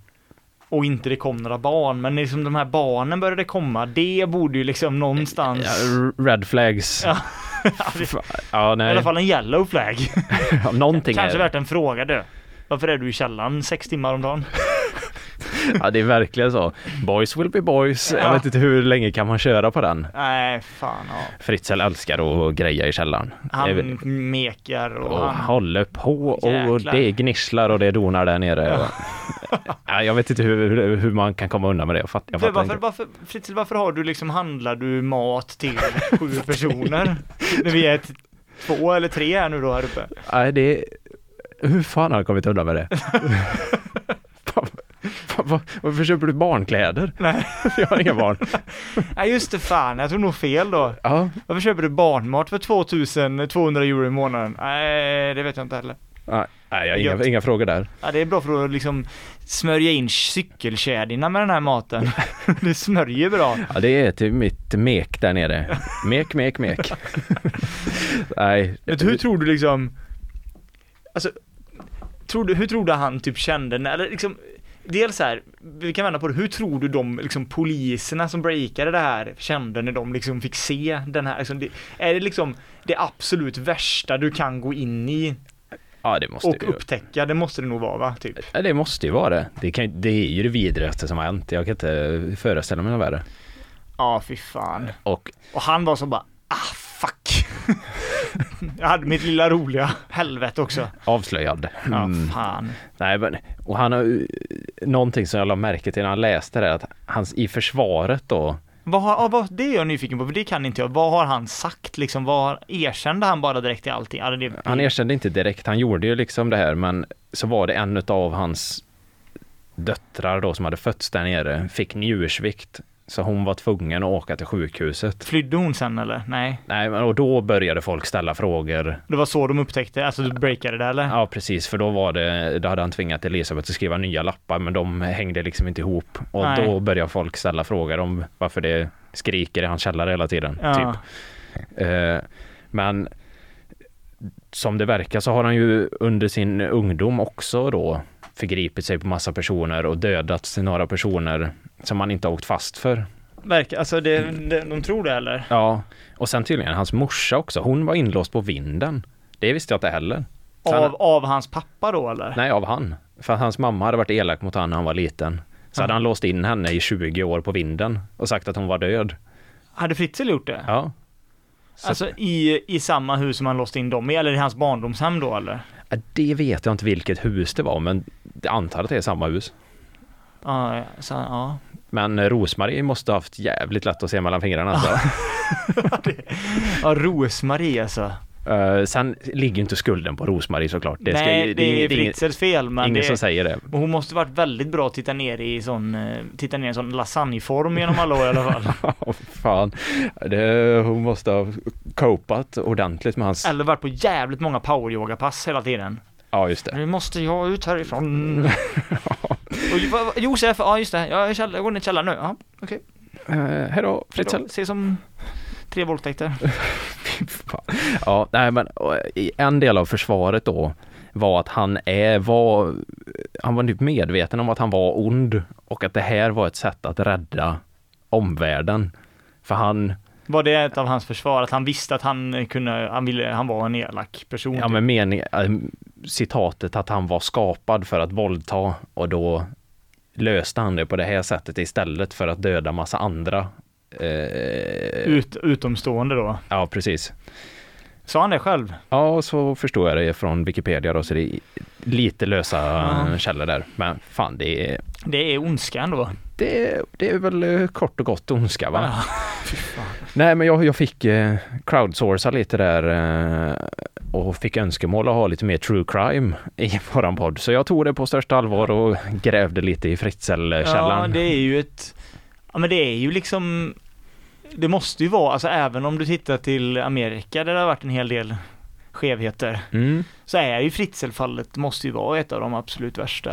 [SPEAKER 3] och inte det kom några barn, men liksom de här barnen började komma, det borde ju liksom någonstans...
[SPEAKER 2] ja red flags.
[SPEAKER 3] Ja.
[SPEAKER 2] Fan. ja,
[SPEAKER 3] I
[SPEAKER 2] nej.
[SPEAKER 3] alla fall en yellow flag.
[SPEAKER 2] Ja, någonting
[SPEAKER 3] Kanske
[SPEAKER 2] är det.
[SPEAKER 3] värt en fråga du. Varför är du i källaren sex timmar om dagen?
[SPEAKER 2] Ja, det är verkligen så. Boys will be boys. Jag
[SPEAKER 3] Ja.
[SPEAKER 2] vet inte hur länge kan man köra på den?
[SPEAKER 3] Nej, fan ja.
[SPEAKER 2] Fritzl älskar att greja i källaren. Det är väl-
[SPEAKER 3] Han mekar och
[SPEAKER 2] Och
[SPEAKER 3] han...
[SPEAKER 2] håller på och
[SPEAKER 3] Jäklar.
[SPEAKER 2] det gnisslar och det donar där nere. Ja, jag vet inte hur, hur, hur man kan komma undan med det. Jag fattar, jag
[SPEAKER 3] För
[SPEAKER 2] fattar
[SPEAKER 3] varför,
[SPEAKER 2] inte.
[SPEAKER 3] varför, Fritzl, varför har du liksom, handlar du mat till sju personer? När vi är ett, två eller tre här nu då här uppe.
[SPEAKER 2] Nej, det... Hur fan har jag kommit undan med det? Fan, fan, vad- Varför köper du barnkläder?
[SPEAKER 3] Nej.
[SPEAKER 2] Jag har inga barn.
[SPEAKER 3] Nej just det, fan jag tog nog fel då.
[SPEAKER 2] Ja,
[SPEAKER 3] Varför köper du barnmat för 2200 euro i månaden? Nej, det vet jag inte heller.
[SPEAKER 2] nej, jag har inga,
[SPEAKER 3] Gött.
[SPEAKER 2] inga frågor där.
[SPEAKER 3] Ja, det är bra för att liksom smörja in cykelkedjorna med den här maten. Det smörjer bra.
[SPEAKER 2] Ja, det är till mitt mek där nere. Mek, mek, mek. Nej.
[SPEAKER 3] Men hur tror du liksom, alltså, tror du, hur tror du han typ kände, när- eller liksom, dels så här, vi kan vända på det, hur tror du de liksom poliserna som breakade det här kände när de liksom fick se den här, liksom, det, är det liksom det absolut värsta du kan gå in i
[SPEAKER 2] Ja, det måste det
[SPEAKER 3] och
[SPEAKER 2] ju.
[SPEAKER 3] upptäcka? Det måste det nog vara va, typ?
[SPEAKER 2] Ja, det måste ju vara det. Det, kan, ju- det är ju det vidrigaste som har hänt. Jag kan inte föreställa mig något värre.
[SPEAKER 3] Ja, fy fan.
[SPEAKER 2] Och
[SPEAKER 3] Och han var så bara, ah fuck. Jag hade mitt lilla roliga helvete också.
[SPEAKER 2] avslöjad.
[SPEAKER 3] Ja,
[SPEAKER 2] Mm.
[SPEAKER 3] fan.
[SPEAKER 2] Nej, men, och han har, ju- någonting som jag la märke till när han läste det, att hans, i försvaret då,
[SPEAKER 3] Vad har, ja, vad, det är jag nyfiken på, för det kan inte jag. Vad har han sagt liksom? Vad har, erkände han bara direkt i allting? Ja, det,
[SPEAKER 2] han erkände inte direkt, han gjorde ju liksom det här, men så var det en av hans döttrar då som hade fötts där nere, fick njursvikt. Så hon var tvungen att åka till sjukhuset.
[SPEAKER 3] Flydde hon sen eller? Nej.
[SPEAKER 2] Nej, men och då började folk ställa frågor.
[SPEAKER 3] Det var så de upptäckte, alltså du breakade det eller?
[SPEAKER 2] Ja, precis, för då var det, då hade han tvingat Elisabeth att skriva nya lappar, men de hängde liksom inte ihop. Och
[SPEAKER 3] Nej.
[SPEAKER 2] då började folk ställa frågor om varför det skriker i hans källare hela tiden.
[SPEAKER 3] Ja.
[SPEAKER 2] Typ. Eh, Men som det verkar så har han ju under sin ungdom också då förgripit sig på massa personer och dödat några personer som han inte har åkt fast för.
[SPEAKER 3] Verkar, alltså det, det, de tror det eller?
[SPEAKER 2] Ja, och sen tydligen hans morsa också, hon var inlåst på vinden. Det visste jag inte heller. Så han-
[SPEAKER 3] Av, av hans pappa då eller?
[SPEAKER 2] Nej, av han. För hans mamma hade varit elak mot honom när han var liten. Så hade han låst in henne i 20 år på vinden och sagt att hon var död.
[SPEAKER 3] Hade Fritzl gjort det?
[SPEAKER 2] Ja. Så
[SPEAKER 3] Alltså i, i samma hus som han låste in dem i, eller i hans barndomshem då eller?
[SPEAKER 2] Ja, det vet jag inte vilket hus det var, men jag antar att det är samma hus.
[SPEAKER 3] Ja, så, ja.
[SPEAKER 2] Men eh, Rosmarie måste ha haft jävligt lätt att se mellan fingrarna. Alltså.
[SPEAKER 3] ja Rosmarie alltså.
[SPEAKER 2] Eh, sen ligger ju inte skulden på Rosmarie såklart. Det, ska,
[SPEAKER 3] Nej, det är
[SPEAKER 2] inget- inget-
[SPEAKER 3] Fritzls fel men
[SPEAKER 2] ingen
[SPEAKER 3] det,
[SPEAKER 2] som säger det.
[SPEAKER 3] Men Hon måste varit väldigt bra att titta ner i sån, eh, titta ner i en sån lasagneform genom alla år i alla fall.
[SPEAKER 2] Åh, Fan, det, hon måste ha copat ordentligt med hans...
[SPEAKER 3] Eller varit på jävligt många poweryogapass hela tiden.
[SPEAKER 2] Ja, just det.
[SPEAKER 3] Nu måste jag ut härifrån. Och ju- vad- vad- Josef, ja just det, jag, är i käll- jag går ner i källaren nu. Ja, okej.
[SPEAKER 2] Uh,
[SPEAKER 3] Mm.
[SPEAKER 2] hej då, Fritzl.
[SPEAKER 3] Okay. Se som tre våldtäkter.
[SPEAKER 2] Fan. Ja, nej men och, i en del av försvaret då var att han är, var, han var typ medveten om att han var ond och att det här var ett sätt att rädda omvärlden. För han,
[SPEAKER 3] Var det ett av hans försvar att han visste att han eh, kunde, han ville, han var en elak person?
[SPEAKER 2] ja
[SPEAKER 3] typ?
[SPEAKER 2] men mening, äh, citatet att han var skapad för att våldta och då löste han det på det här sättet istället för att döda massa andra. Eh,
[SPEAKER 3] Ut, utomstående då.
[SPEAKER 2] ja, precis.
[SPEAKER 3] Sa han det själv?
[SPEAKER 2] Ja, och så förstår jag det från Wikipedia då, så det är lite lösa
[SPEAKER 3] Ja.
[SPEAKER 2] källor där. Men fan, det är,
[SPEAKER 3] Det är ondska ändå.
[SPEAKER 2] det, det är väl eh, kort och gott ondska va?
[SPEAKER 3] Ja.
[SPEAKER 2] Nej, men jag, jag fick eh, crowdsourca lite där eh, och fick önskemål att ha lite mer true crime i våran podd. Så jag tog det på största allvar och grävde lite i
[SPEAKER 3] Ja,
[SPEAKER 2] Fritzl-källan.
[SPEAKER 3] det är ju ett... Ja, men det är ju liksom... Det måste ju vara, alltså även om du tittar till Amerika där det har varit en hel del skevheter,
[SPEAKER 2] mm.
[SPEAKER 3] så är ju Fritzl-fallet måste ju vara ett av de absolut värsta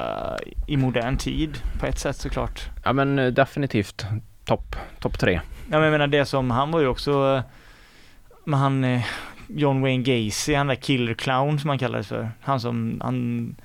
[SPEAKER 3] i modern tid, på ett sätt såklart.
[SPEAKER 2] ja men eh, definitivt topp, topp tre.
[SPEAKER 3] Ja, men jag menar det som, han var ju också, eh, men han, eh, John Wayne Gacy, han där killer clown som han kallades för, han som, han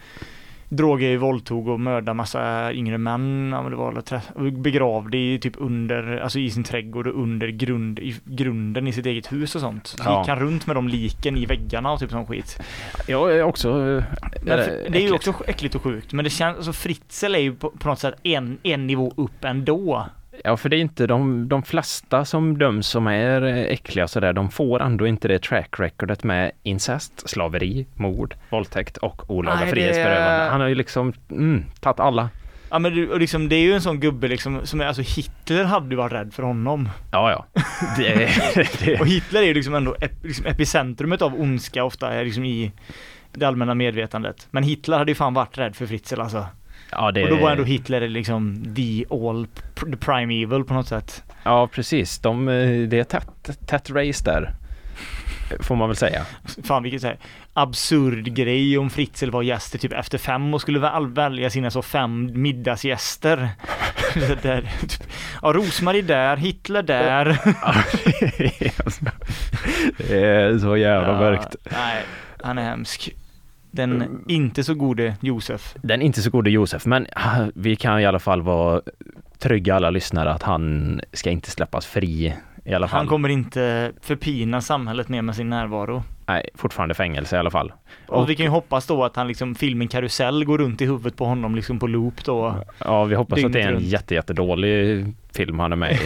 [SPEAKER 3] droger i våldtog och mördade massa yngre män, ja, men det var alla träff- och begravde i typ under, alltså i sin trädgård och under grund, i grunden i sitt eget hus och sånt. Så
[SPEAKER 2] Ja.
[SPEAKER 3] gick han runt med de liken i väggarna och typ sån skit.
[SPEAKER 2] Jag är också... eh,
[SPEAKER 3] Men
[SPEAKER 2] eh,
[SPEAKER 3] för, det är
[SPEAKER 2] äckligt.
[SPEAKER 3] ju också äckligt och sjukt, men det känns, alltså Fritzl är ju på, på något sätt en, en nivå upp ändå.
[SPEAKER 2] Ja, för det är inte de, de flesta som döms som är eh, äckliga sådär, de får ändå inte det track recordet med incest, slaveri, mord, våldtäkt och olaga
[SPEAKER 3] Nej, det-
[SPEAKER 2] frihetsberövande. Han har ju liksom mm, tagit alla.
[SPEAKER 3] Ja men du, och liksom, det är ju en sån gubbe liksom, som är, alltså Hitler hade ju varit rädd för honom.
[SPEAKER 2] Ja, ja. Det, det,
[SPEAKER 3] Och Hitler är ju liksom ändå ep, liksom epicentrumet av ondska ofta, är liksom i det allmänna medvetandet. Men Hitler hade ju fan varit rädd för Fritzl alltså.
[SPEAKER 2] ja, det,
[SPEAKER 3] Och då var ändå Hitler liksom the all, the prime evil på något sätt.
[SPEAKER 2] ja, precis. De, eh, det är tätt, tätt race där. Får man väl säga.
[SPEAKER 3] Fan vilket så här absurd grej om Fritzl var gäst i typ efter fem och skulle väl välja sina så fem middagsgäster. Så där, typ. Ja, Rosmarie där, Hitler där.
[SPEAKER 2] det är så jävla
[SPEAKER 3] Ja,
[SPEAKER 2] mörkt.
[SPEAKER 3] Nej, han är hemsk.
[SPEAKER 2] Mm.
[SPEAKER 3] Den inte så gode Josef.
[SPEAKER 2] Den inte så gode Josef, men ah, vi kan i alla fall vara trygga alla lyssnare att han ska inte släppas fri i alla fall.
[SPEAKER 3] Han kommer inte förpina samhället mer med sin närvaro.
[SPEAKER 2] Nej, fortfarande fängelse i alla fall.
[SPEAKER 3] Och vi kan ju hoppas då att han liksom, filmen Karusell går runt i huvudet på honom liksom på loop då.
[SPEAKER 2] Ja, vi hoppas att det är en
[SPEAKER 3] Dygnet runt.
[SPEAKER 2] jätte, jättedålig film han är med i.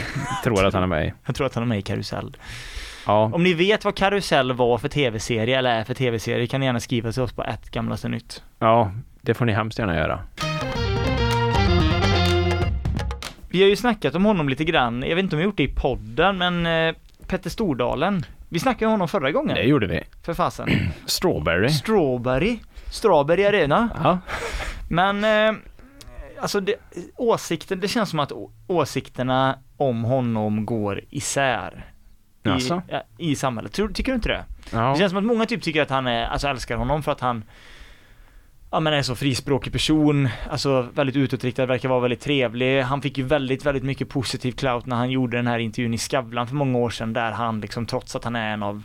[SPEAKER 2] Tror att han är med i.
[SPEAKER 3] Jag tror att han är med i Karusell.
[SPEAKER 2] Ja,
[SPEAKER 3] Om ni vet vad Karusell var för tv-serie eller är för tv-serie kan ni gärna skriva till oss på ett gamlaste nytt.
[SPEAKER 2] ja, det får ni hemskt gärna göra.
[SPEAKER 3] Vi har ju snackat om honom lite grann, jag vet inte om vi gjort det i podden, men eh, Petter Stordalen. Vi snackade om honom förra gången,
[SPEAKER 2] Det gjorde vi.
[SPEAKER 3] för fasen.
[SPEAKER 2] Strawberry.
[SPEAKER 3] Strawberry, Strawberry Arena.
[SPEAKER 2] Ja,
[SPEAKER 3] Men, eh, alltså det, åsikten, det känns som att å- åsikterna om honom går isär. I,
[SPEAKER 2] Jaså?
[SPEAKER 3] ja, I samhället, Tror, tycker du inte det? Det
[SPEAKER 2] ja.
[SPEAKER 3] känns som att många typ tycker att han är, alltså älskar honom för att han Ja men är så frispråkig person, alltså väldigt utåtriktad, verkar vara väldigt trevlig. Han fick ju väldigt, väldigt mycket positiv clout när han gjorde den här intervjun i Skavlan för många år sedan där han liksom trots att han är en av,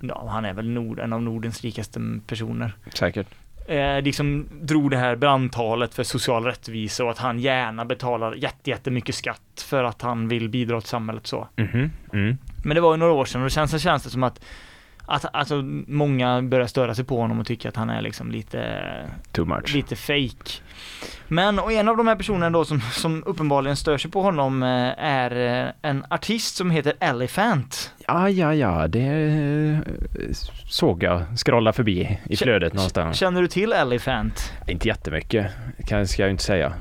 [SPEAKER 3] ja han är väl nord, en av Nordens rikaste personer
[SPEAKER 2] säkert.
[SPEAKER 3] eh, liksom drog det här brandtalet för social rättvisa och att han gärna betalar jätte, jättemycket skatt för att han vill bidra till samhället så.
[SPEAKER 2] Mhm. Mm.
[SPEAKER 3] Men det var ju några år sedan och sen så känns det som att att alltså, många börjar störa sig på honom och tycker att han är liksom lite,
[SPEAKER 2] Too much.
[SPEAKER 3] lite fake. Men och en av de här personerna då som, som uppenbarligen stör sig på honom eh, är eh, en artist som heter Elephant.
[SPEAKER 2] Ja, ja, ja, det eh, såg jag scrolla förbi i
[SPEAKER 3] Kä-
[SPEAKER 2] flödet någonstans.
[SPEAKER 3] Känner du till Elephant?
[SPEAKER 2] Inte jättemycket, kan, ska jag ju inte säga.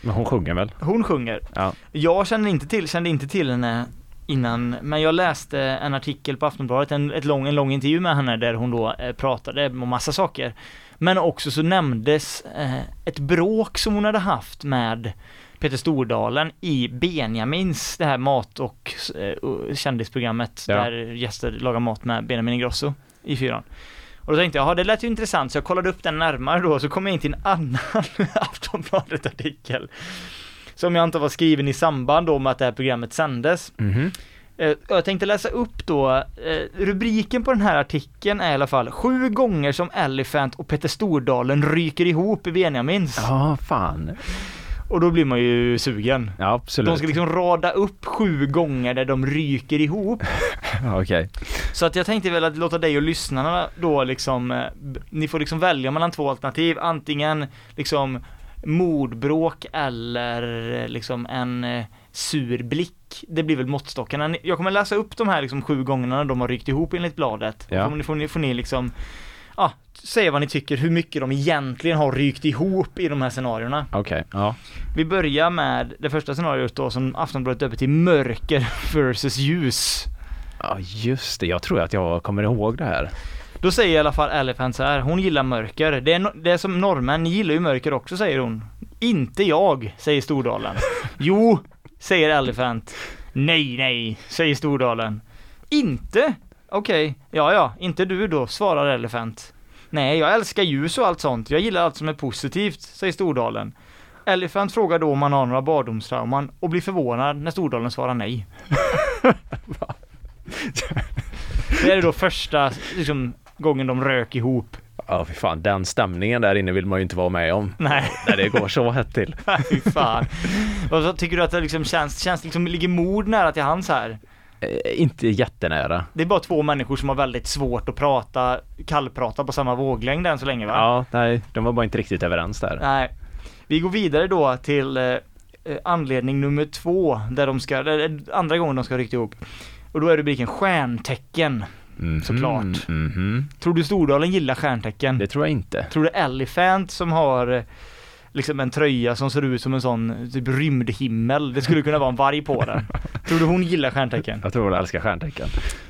[SPEAKER 2] Men hon sjunger väl?
[SPEAKER 3] Hon sjunger.
[SPEAKER 2] Ja.
[SPEAKER 3] Jag kände inte till, kände inte till henne innan, men jag läste en artikel på Aftonbladet, en, ett lång, en lång intervju med henne där hon då eh, pratade om massa saker. Men också så nämndes eh, ett bråk som hon hade haft med Peter Stordalen i Benjamins, det här mat och eh, och kändisprogrammet
[SPEAKER 2] Ja.
[SPEAKER 3] där gäster lagar mat med Benjamin Ingrosso i fyran. Och då tänkte jag, ja det lät ju intressant, så jag kollade upp den närmare då, så kom jag in till en annan Aftonbladet-artikel. Som jag antar var skriven i samband då med att det här programmet sändes.
[SPEAKER 2] Mhm.
[SPEAKER 3] Eh, Jag tänkte läsa upp då, eh, rubriken på den här artikeln är i alla fall Sju gånger som Elephant och Petter Stordalen ryker ihop i Benjamins.
[SPEAKER 2] Ja, fan.
[SPEAKER 3] Och då blir man ju sugen.
[SPEAKER 2] Ja,
[SPEAKER 3] De
[SPEAKER 2] absolut.
[SPEAKER 3] ska liksom rada upp sju gånger där de ryker ihop.
[SPEAKER 2] Ja, Okej.
[SPEAKER 3] Så att jag tänkte väl att låta dig och lyssnarna då liksom, eh, b- ni får liksom välja mellan två alternativ, antingen liksom mordbråk eller eh, liksom en eh, sur blick. Det blir väl måttstockarna. Ni- Jag kommer läsa upp de här liksom sju gångerna när de har ryckt ihop enligt bladet.
[SPEAKER 2] Ja.
[SPEAKER 3] Ja. Får, ni, får, ni, får ni liksom, ja, säga vad ni tycker, hur mycket de egentligen har rykt ihop i de här scenarierna.
[SPEAKER 2] Okej, ja.
[SPEAKER 3] Vi börjar med det första scenariot då som Aftonbladet döper till mörker versus ljus.
[SPEAKER 2] Ja, just det. Jag tror att jag kommer ihåg det här.
[SPEAKER 3] Då säger i alla fall Elephant så här, hon gillar mörker. Det är, no- det är som norrmän, ni gillar ju mörker också säger hon. Inte jag, säger Stordalen. Jo, säger Elephant. Nej, nej, säger Stordalen. Inte? Okej, ja, ja, inte du då, svarar Elephant. Nej, jag älskar ljus och allt sånt. Jag gillar allt som är positivt, säger Stordalen. Elephant frågar då om han har några barndomstrauman och blir förvånad när Stordalen svarar nej. Det är då första liksom, gången de rök ihop.
[SPEAKER 2] Ja, fy fan, den stämningen där inne vill man ju inte vara med om.
[SPEAKER 3] Nej,
[SPEAKER 2] När det går så hett till.
[SPEAKER 3] fy fan. Och så tycker du att det liksom känns, känns liksom, ligger mord nära till hans här?
[SPEAKER 2] Eh, inte jättenära.
[SPEAKER 3] Det är bara två människor som har väldigt svårt att prata, kallprata på samma våglängd än så länge va?
[SPEAKER 2] Ja, nej, de var bara inte riktigt överens där.
[SPEAKER 3] Nej. Vi går vidare då till eh, eh, anledning nummer två, där de ska, där, eh, andra gången de ska rycka ihop. Och då är rubriken Stjärntecken.
[SPEAKER 2] Mhm,
[SPEAKER 3] Såklart.
[SPEAKER 2] mhm.
[SPEAKER 3] Tror du Stordalen gillar stjärntecken?
[SPEAKER 2] Det tror jag inte.
[SPEAKER 3] Tror du Elephant som har eh, liksom en tröja som ser ut som en sån typ rymdhimmel, det skulle kunna vara en varg på den. Tror du hon gillar stjärntecken?
[SPEAKER 2] Jag tror hon älskar stjärntecken.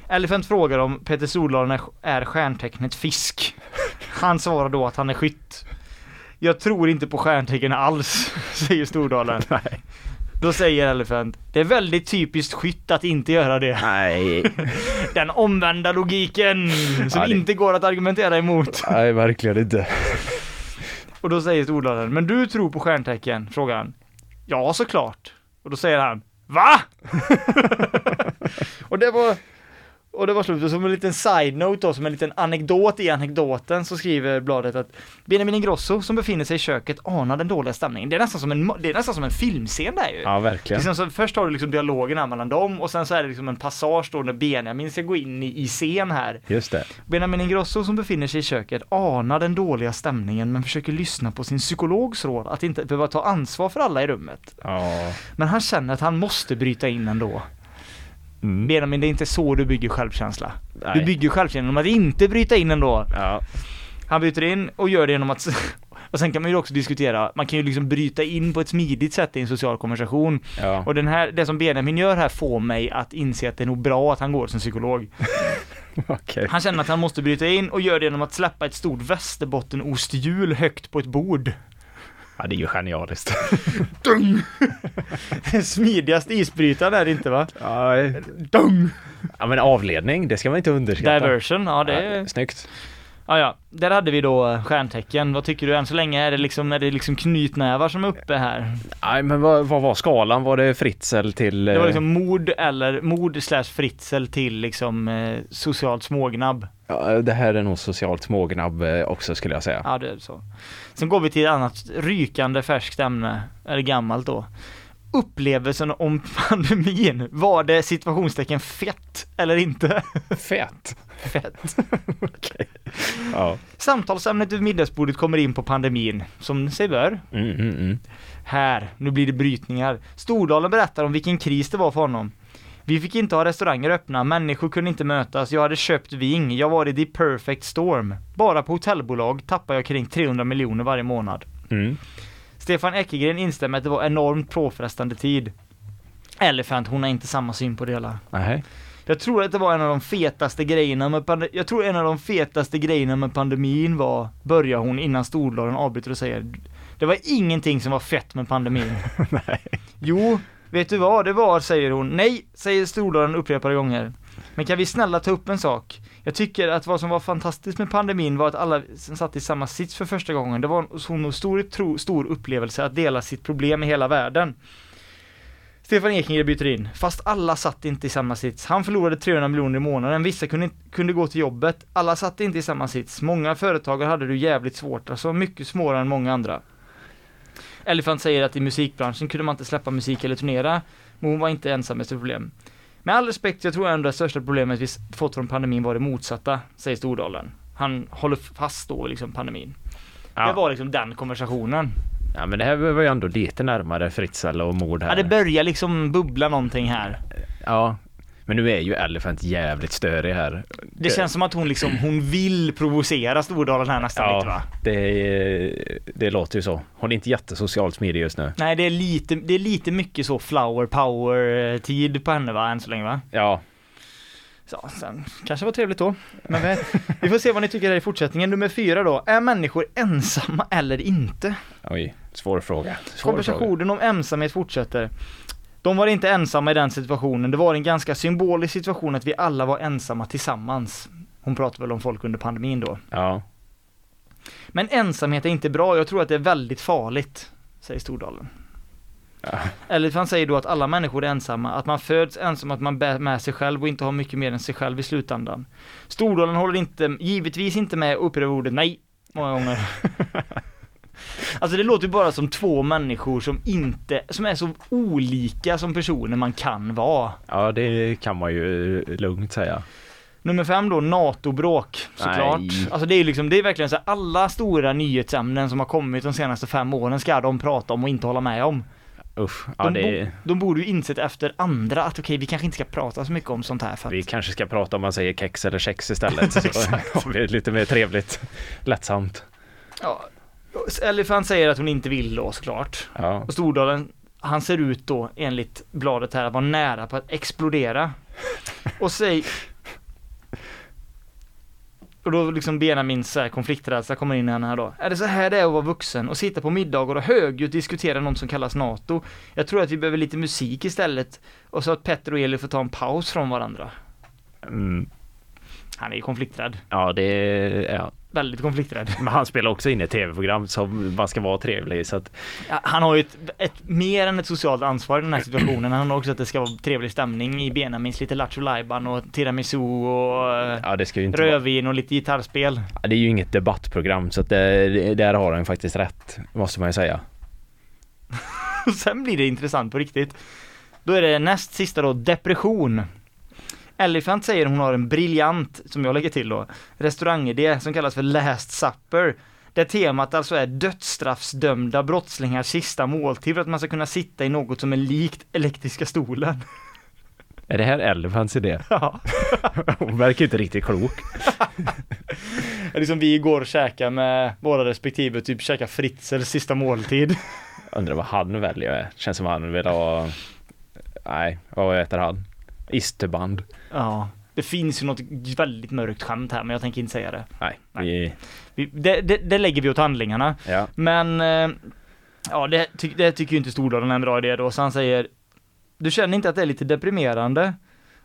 [SPEAKER 3] Elephant frågar om Peter Stordalen är- är stjärntecknet fisk. Han svarar då att han är skytt. Jag tror inte på stjärntecken alls, säger Stordalen.
[SPEAKER 2] Nej.
[SPEAKER 3] Då säger Elephant, det är väldigt typiskt skytt att inte göra det.
[SPEAKER 2] Nej,
[SPEAKER 3] Den omvända logiken som
[SPEAKER 2] Ja, det-
[SPEAKER 3] inte går att argumentera emot.
[SPEAKER 2] nej verkligen inte.
[SPEAKER 3] Och då säger Stordalen, men du tror på stjärntecken? Frågar han. Ja, såklart. Och då säger han, VA? och det var och det var slut. Och som en liten side-note då, som en liten anekdot i anekdoten, så skriver bladet att Benjamin Ingrosso som befinner sig i köket anar den dåliga stämningen. Det är nästan som en, mo- det är nästan som en filmscen där ju.
[SPEAKER 2] Ja, verkligen.
[SPEAKER 3] Liksom, så först har du liksom dialogen här mellan dem och sen så är det liksom en passage då när Benjamin ska gå in i, i scen här.
[SPEAKER 2] Just det.
[SPEAKER 3] Benjamin Ingrosso som befinner sig i köket anar den dåliga stämningen men försöker lyssna på sin psykologs råd att inte behöva ta ansvar för alla i rummet.
[SPEAKER 2] Ja.
[SPEAKER 3] Men han känner att han måste bryta in ändå.
[SPEAKER 2] Mm.
[SPEAKER 3] Benjamin, det är inte så du bygger självkänsla. Du
[SPEAKER 2] Nej.
[SPEAKER 3] bygger självkänsla genom att inte bryta in ändå.
[SPEAKER 2] Ja.
[SPEAKER 3] Han bryter in och gör det genom att och sen kan man ju också diskutera, man kan ju liksom bryta in på ett smidigt sätt i en social konversation.
[SPEAKER 2] Ja.
[SPEAKER 3] Och den här, det som Benjamin gör här får mig att inse att det är nog bra att han går som psykolog.
[SPEAKER 2] Okej.
[SPEAKER 3] Han känner att han måste bryta in och gör det genom att släppa ett stort västerbottenosthjul högt på ett bord.
[SPEAKER 2] Ja, det är ju genialiskt.
[SPEAKER 3] Den smidigaste isbrytaren är det inte va?
[SPEAKER 2] Nej.
[SPEAKER 3] Dung!
[SPEAKER 2] Ja, men avledning, det ska man inte underskatta.
[SPEAKER 3] Diversion, ja det
[SPEAKER 2] Ja,
[SPEAKER 3] är...
[SPEAKER 2] snyggt.
[SPEAKER 3] Ja, ja. Där hade vi då eh, stjärntecken. Vad tycker du än så länge? Är det liksom, är det liksom knytnävar som är uppe här?
[SPEAKER 2] Nej, men vad, vad var skalan? Var det Fritzl till...
[SPEAKER 3] Det
[SPEAKER 2] eh,
[SPEAKER 3] var liksom mord eller mord slash fritzel till liksom eh, socialt smågnabb.
[SPEAKER 2] eh, ja, det här är nog socialt smågnabb eh, också skulle jag säga.
[SPEAKER 3] Ja, det är så. Sen går vi till ett annat rykande färskt ämne, eller gammalt då. Upplevelsen om pandemin, var det situationstecken fett eller inte?
[SPEAKER 2] Fett!
[SPEAKER 3] Fett.
[SPEAKER 2] Ja.
[SPEAKER 3] Samtalsämnet vid middagsbordet kommer in på pandemin, som sig bör.
[SPEAKER 2] Mm, mm, mm.
[SPEAKER 3] Här, nu blir det brytningar. Stordalen berättar om vilken kris det var för honom. Vi fick inte ha restauranger öppna, människor kunde inte mötas, jag hade köpt ving, jag var i the perfect storm. Bara på hotellbolag tappar jag kring 300 miljoner varje månad.
[SPEAKER 2] Mm.
[SPEAKER 3] Stefan Ekegren instämmer att det var enormt påfrestande tid. Elephant, hon har inte samma syn på det hela.
[SPEAKER 2] Nej.
[SPEAKER 3] Jag tror att det var en av de fetaste grejerna med pandemin, jag tror en av de fetaste grejerna med pandemin var, börjar hon innan Stordalen avbryter och säger, det var ingenting som var fett med pandemin.
[SPEAKER 2] Nej.
[SPEAKER 3] Jo, vet du vad det var, säger hon. Nej, säger Stordalen upprepade gånger. Men kan vi snälla ta upp en sak? Jag tycker att vad som var fantastiskt med pandemin var att alla som satt i samma sits för första gången, det var en så nog stor, tro, stor upplevelse att dela sitt problem med hela världen. Stefan Ekinger byter in, fast alla satt inte i samma sits. Han förlorade 300 miljoner i månaden, vissa kunde, inte- kunde gå till jobbet, alla satt inte i samma sits. Många företagare hade det jävligt svårt, alltså mycket svårare än många andra. Elephant säger att i musikbranschen kunde man inte släppa musik eller turnera, men hon var inte ensam med sitt problem. Med all respekt, jag tror ändå det största problemet vi s- fått från pandemin var det motsatta, säger Stordalen. Han håller fast då liksom pandemin.
[SPEAKER 2] Ja.
[SPEAKER 3] Det var liksom den konversationen.
[SPEAKER 2] ja, men det här var ju ändå lite närmare Fritzl och mord
[SPEAKER 3] Ja,
[SPEAKER 2] här.
[SPEAKER 3] det börjar liksom bubbla någonting här.
[SPEAKER 2] ja. Men nu är ju Elephant jävligt störig här.
[SPEAKER 3] Det känns som att hon liksom, hon vill provocera Stordalen här nästan lite va?
[SPEAKER 2] det, är- det låter ju så. Hon är inte jättesocialt smidig just nu.
[SPEAKER 3] Nej, det är lite, det är lite mycket så flower power-tid på henne va, än så länge va?
[SPEAKER 2] Ja,
[SPEAKER 3] Så, sen kanske var trevligt då. Men vi, vi får se vad ni tycker här i fortsättningen. Nummer fyra då. Är människor ensamma eller inte?
[SPEAKER 2] oj, svår fråga. Svår fråga.
[SPEAKER 3] Konversationen om ensamhet fortsätter. De var inte ensamma i den situationen. Det var en ganska symbolisk situation att vi alla var ensamma tillsammans. Hon pratar väl om folk under pandemin då.
[SPEAKER 2] Ja,
[SPEAKER 3] Men ensamhet är inte bra. Jag tror att det är väldigt farligt, säger Stordalen.
[SPEAKER 2] Ja.
[SPEAKER 3] Eller han säger då att alla människor är ensamma, att man föds ensam, att man bär med sig själv och inte har mycket mer än sig själv i slutändan. Stordalen håller inte, givetvis inte med och upprepar ordet nej, många gånger. Alltså det låter ju bara som två människor som inte, som är så olika som personer man kan vara.
[SPEAKER 2] Ja, det kan man ju eh, lugnt säga.
[SPEAKER 3] Nummer fem då, NATO-bråk såklart.
[SPEAKER 2] Nej.
[SPEAKER 3] Alltså det är ju liksom, det är verkligen så här, alla stora nyhetsämnen som har kommit de senaste fem åren ska de prata om och inte hålla med om.
[SPEAKER 2] Usch, ja,
[SPEAKER 3] De,
[SPEAKER 2] det,
[SPEAKER 3] bo, de borde ju insett efter andra att okej, vi kanske inte ska prata så mycket om sånt här för att
[SPEAKER 2] vi kanske ska prata om man säger kex eller kex istället. Så har vi lite mer trevligt, lättsamt.
[SPEAKER 3] Ja, Elephant säger att hon inte vill då såklart.
[SPEAKER 2] Ja,
[SPEAKER 3] Och Stordalen, han ser ut då enligt bladet här att vara nära på att explodera. Och säg... Och då liksom Benjamins så här konflikträdsla kommer in i henne här då. Är det så här det är att vara vuxen och sitta på middagar och högljutt diskutera något som kallas NATO? Jag tror att vi behöver lite musik istället och så att Petter och Eli får ta en paus från varandra.
[SPEAKER 2] mm,
[SPEAKER 3] Han är ju konflikträdd.
[SPEAKER 2] ja det ja.
[SPEAKER 3] Väldigt konflikträdd.
[SPEAKER 2] Men han spelar också in i tv-program som man ska vara trevlig så att
[SPEAKER 3] Ja, Han har ju ett, ett, mer än ett socialt ansvar i den här situationen. Han har också att det ska vara trevlig stämning i Benjamins lite Lattjo Lajban och tiramisu och eh,
[SPEAKER 2] ja, det ska ju inte vara.
[SPEAKER 3] rödvin och lite gitarrspel.
[SPEAKER 2] Ja, Det är ju inget debattprogram så att det, där har han faktiskt rätt, måste man ju säga.
[SPEAKER 3] Och Sen blir det intressant på riktigt. Då är det näst sista då, depression. Elephant säger hon har en briljant, som jag lägger till då, restaurangidé som kallas för Last Supper. Där temat alltså är dödsstraffsdömda brottslingars sista måltid för att man ska kunna sitta i något som är likt elektriska stolen.
[SPEAKER 2] Är det här Elephants idé?
[SPEAKER 3] Ja.
[SPEAKER 2] Hon verkar inte riktigt klok.
[SPEAKER 3] Det är som vi igår käkade med våra respektive, typ käka fritzels sista måltid.
[SPEAKER 2] Undrar vad han väljer. Känns som han vill ha... Nej, vad heter han? Isterband.
[SPEAKER 3] Ja. Det finns ju något väldigt mörkt skämt här, men jag tänker inte säga det.
[SPEAKER 2] Nej, vi...
[SPEAKER 3] Vi, det, det, det lägger vi åt handlingarna.
[SPEAKER 2] Ja.
[SPEAKER 3] Men, eh, ja det, ty, det tycker ju inte Stordalen är en bra idé då, så han säger Du känner inte att det är lite deprimerande?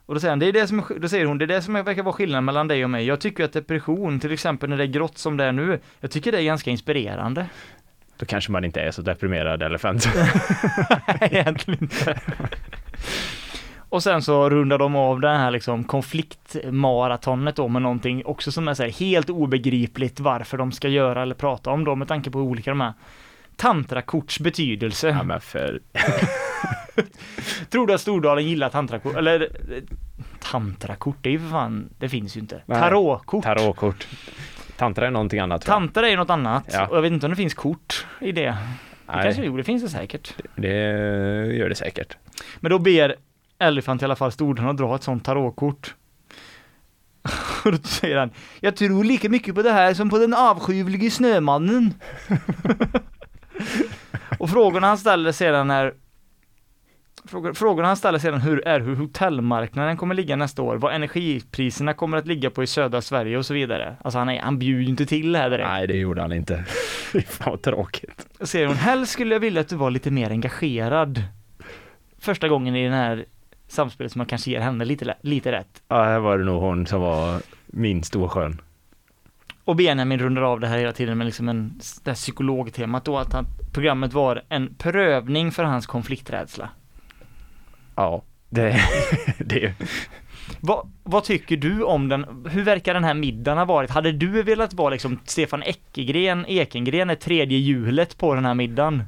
[SPEAKER 3] Och då säger, han, det är det som, är sk- då säger hon, det är det som verkar vara skillnaden mellan dig och mig. Jag tycker ju att depression, till exempel när det är grått som det är nu, jag tycker det är ganska inspirerande.
[SPEAKER 2] Då kanske man inte är så deprimerad elefant.
[SPEAKER 3] Nej, egentligen inte. Och sen så rundar de av den här liksom konfliktmaratonet då med någonting också som är så här helt obegripligt varför de ska göra eller prata om då med tanke på hur olika de är. Tantrakorts betydelse.
[SPEAKER 2] ja, men för...
[SPEAKER 3] Tror du att Stordalen gillar tantrakort? Eller eh, tantrakort, det är ju för fan, det finns ju inte.
[SPEAKER 2] Nej.
[SPEAKER 3] Tarotkort.
[SPEAKER 2] Tarotkort. Tantra är någonting annat tror jag.
[SPEAKER 3] Tantar är ju något annat
[SPEAKER 2] Ja.
[SPEAKER 3] och jag vet inte om det finns kort i det. Det kanske det
[SPEAKER 2] Nej,
[SPEAKER 3] gjorde, det finns det säkert.
[SPEAKER 2] det gör det säkert.
[SPEAKER 3] Men då ber Elephant i alla fall Stordalen att dra ett sånt tarotkort. Och då säger han, jag tror lika mycket på det här som på den avskyvlige snömannen. Och frågorna han ställer sedan är Frågor- Frågorna han ställer sedan hur är hur hotellmarknaden kommer ligga nästa år, vad energipriserna kommer att ligga på i södra Sverige och så vidare. Alltså han, är, han bjuder ju inte till det här direkt.
[SPEAKER 2] Nej, det gjorde han inte. Fy fan vad tråkigt.
[SPEAKER 3] Och säger hon, helst skulle jag vilja att du var lite mer engagerad. Första gången i den här samspelet som man kanske ger henne lite, lä- lite rätt.
[SPEAKER 2] Ja, här var det nog hon som var minst oskön.
[SPEAKER 3] Och Benjamin rundar av det här hela tiden med liksom en, det här psykologtemat då, att han, programmet var en prövning för hans konflikträdsla.
[SPEAKER 2] Ja, det... det
[SPEAKER 3] Vad, vad tycker du om den, hur verkar den här middagen ha varit? Hade du velat vara liksom Stefan Ekegren, Ekengren, det tredje hjulet på den här middagen?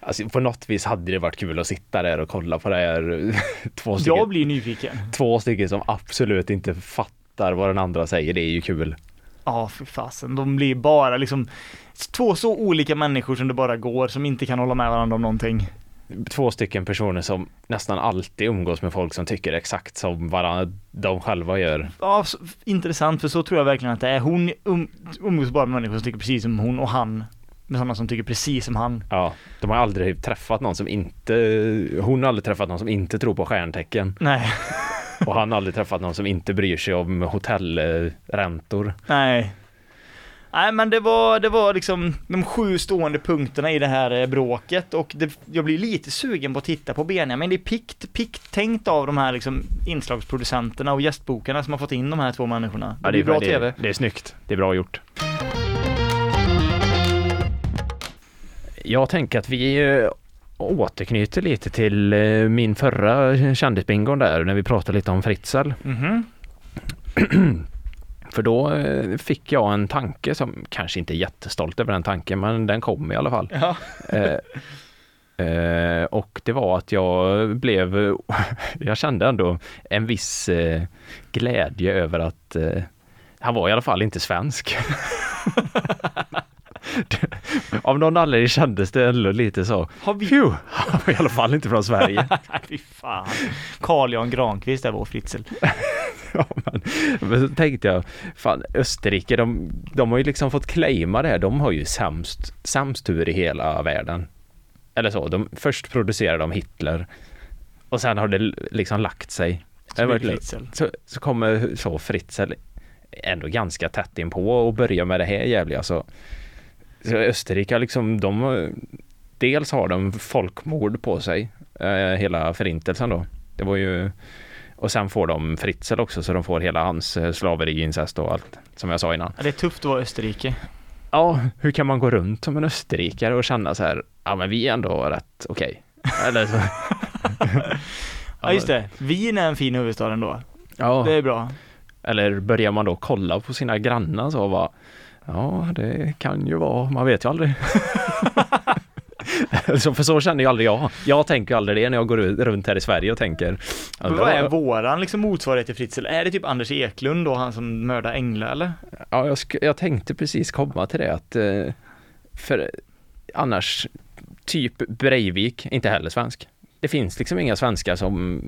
[SPEAKER 2] Alltså, på något vis hade det varit kul att sitta där och kolla på det här. Två stycken,
[SPEAKER 3] Jag blir nyfiken.
[SPEAKER 2] två stycken som absolut inte fattar vad den andra säger. Det är ju kul.
[SPEAKER 3] Ja, för fasen. De blir bara liksom två så olika människor som det bara går, som inte kan hålla med varandra om någonting.
[SPEAKER 2] Två stycken personer som nästan alltid umgås med folk som tycker exakt som varandra, de själva gör.
[SPEAKER 3] Ja, så, intressant, för så tror jag verkligen att det är. Hon um, umgås bara med människor som tycker precis som hon och han med sådana som tycker precis som han.
[SPEAKER 2] Ja, de har aldrig träffat någon som inte, hon har aldrig träffat någon som inte tror på stjärntecken
[SPEAKER 3] Nej,
[SPEAKER 2] och han har aldrig träffat någon som inte bryr sig om eh, hotellräntor.
[SPEAKER 3] nej. Nej men det var, det var liksom de sju stående punkterna i det här eh, bråket och det, jag blir lite sugen på att titta på Benjamin. Det är pikt, pikt tänkt av de här liksom inslagsproducenterna och gästbokarna som har fått in de här två människorna. Det, blir bra
[SPEAKER 2] det,
[SPEAKER 3] TV.
[SPEAKER 2] Det är snyggt, det är bra gjort. Jag tänker att vi eh, återknyter lite till eh, min förra kändisbingon där när vi pratade lite om Fritzl.
[SPEAKER 3] Mhm.
[SPEAKER 2] För då eh, fick jag en tanke som kanske inte är jättestolt över den tanken, men den kom i alla fall.
[SPEAKER 3] Ja.
[SPEAKER 2] Eh, eh, och det var att jag blev, jag kände ändå en viss eh, glädje över att eh, han var i alla fall inte svensk. Det- Av någon anledning kändes det ändå lite så.
[SPEAKER 3] Har vi...
[SPEAKER 2] Phew, han var i alla fall inte från Sverige.
[SPEAKER 3] Nej, fy fan. Carl Jan Granqvist där, vår Fritzl.
[SPEAKER 2] Ja, men, men så tänkte jag, fan Österrike, de, de har ju liksom fått claima det här, de har ju sämst, sämst tur i hela världen. Eller så, de, först producerade de Hitler och sen har det l- liksom lagt sig. Det har
[SPEAKER 3] Som är
[SPEAKER 2] varit lugnt.
[SPEAKER 3] Fritzl.
[SPEAKER 2] Så, så kommer så Fritzl ändå ganska tätt in på och börjar med det här jävliga så, så Österrike har liksom, de har- dels har de folkmord på sig, eh, hela förintelsen då. Det var ju, och sen får de Fritzl också så de får hela hans eh, slaveri, incest och allt som jag sa innan.
[SPEAKER 3] Ja, det är tufft att vara Österrike.
[SPEAKER 2] Ja, hur kan man gå runt som en österrikare och känna så här, ja men vi är ändå rätt okej. Eller så.
[SPEAKER 3] Ja, just det. Wien är en fin huvudstad ändå.
[SPEAKER 2] Ja.
[SPEAKER 3] Det är bra.
[SPEAKER 2] Eller börjar man då kolla på sina grannar så och bara, ja det kan ju vara, man vet ju aldrig. så för så känner ju aldrig jag. Jag tänker ju aldrig det när jag går runt här i Sverige och tänker. Alltså,
[SPEAKER 3] Men vad är våran liksom motsvarighet till Fritzl? Är det typ Anders Eklund då, han som mördade Engla eller?
[SPEAKER 2] Ja, jag, sk- jag tänkte precis komma till det att, eh, för annars, typ Breivik, inte heller svensk. Det finns liksom inga svenskar som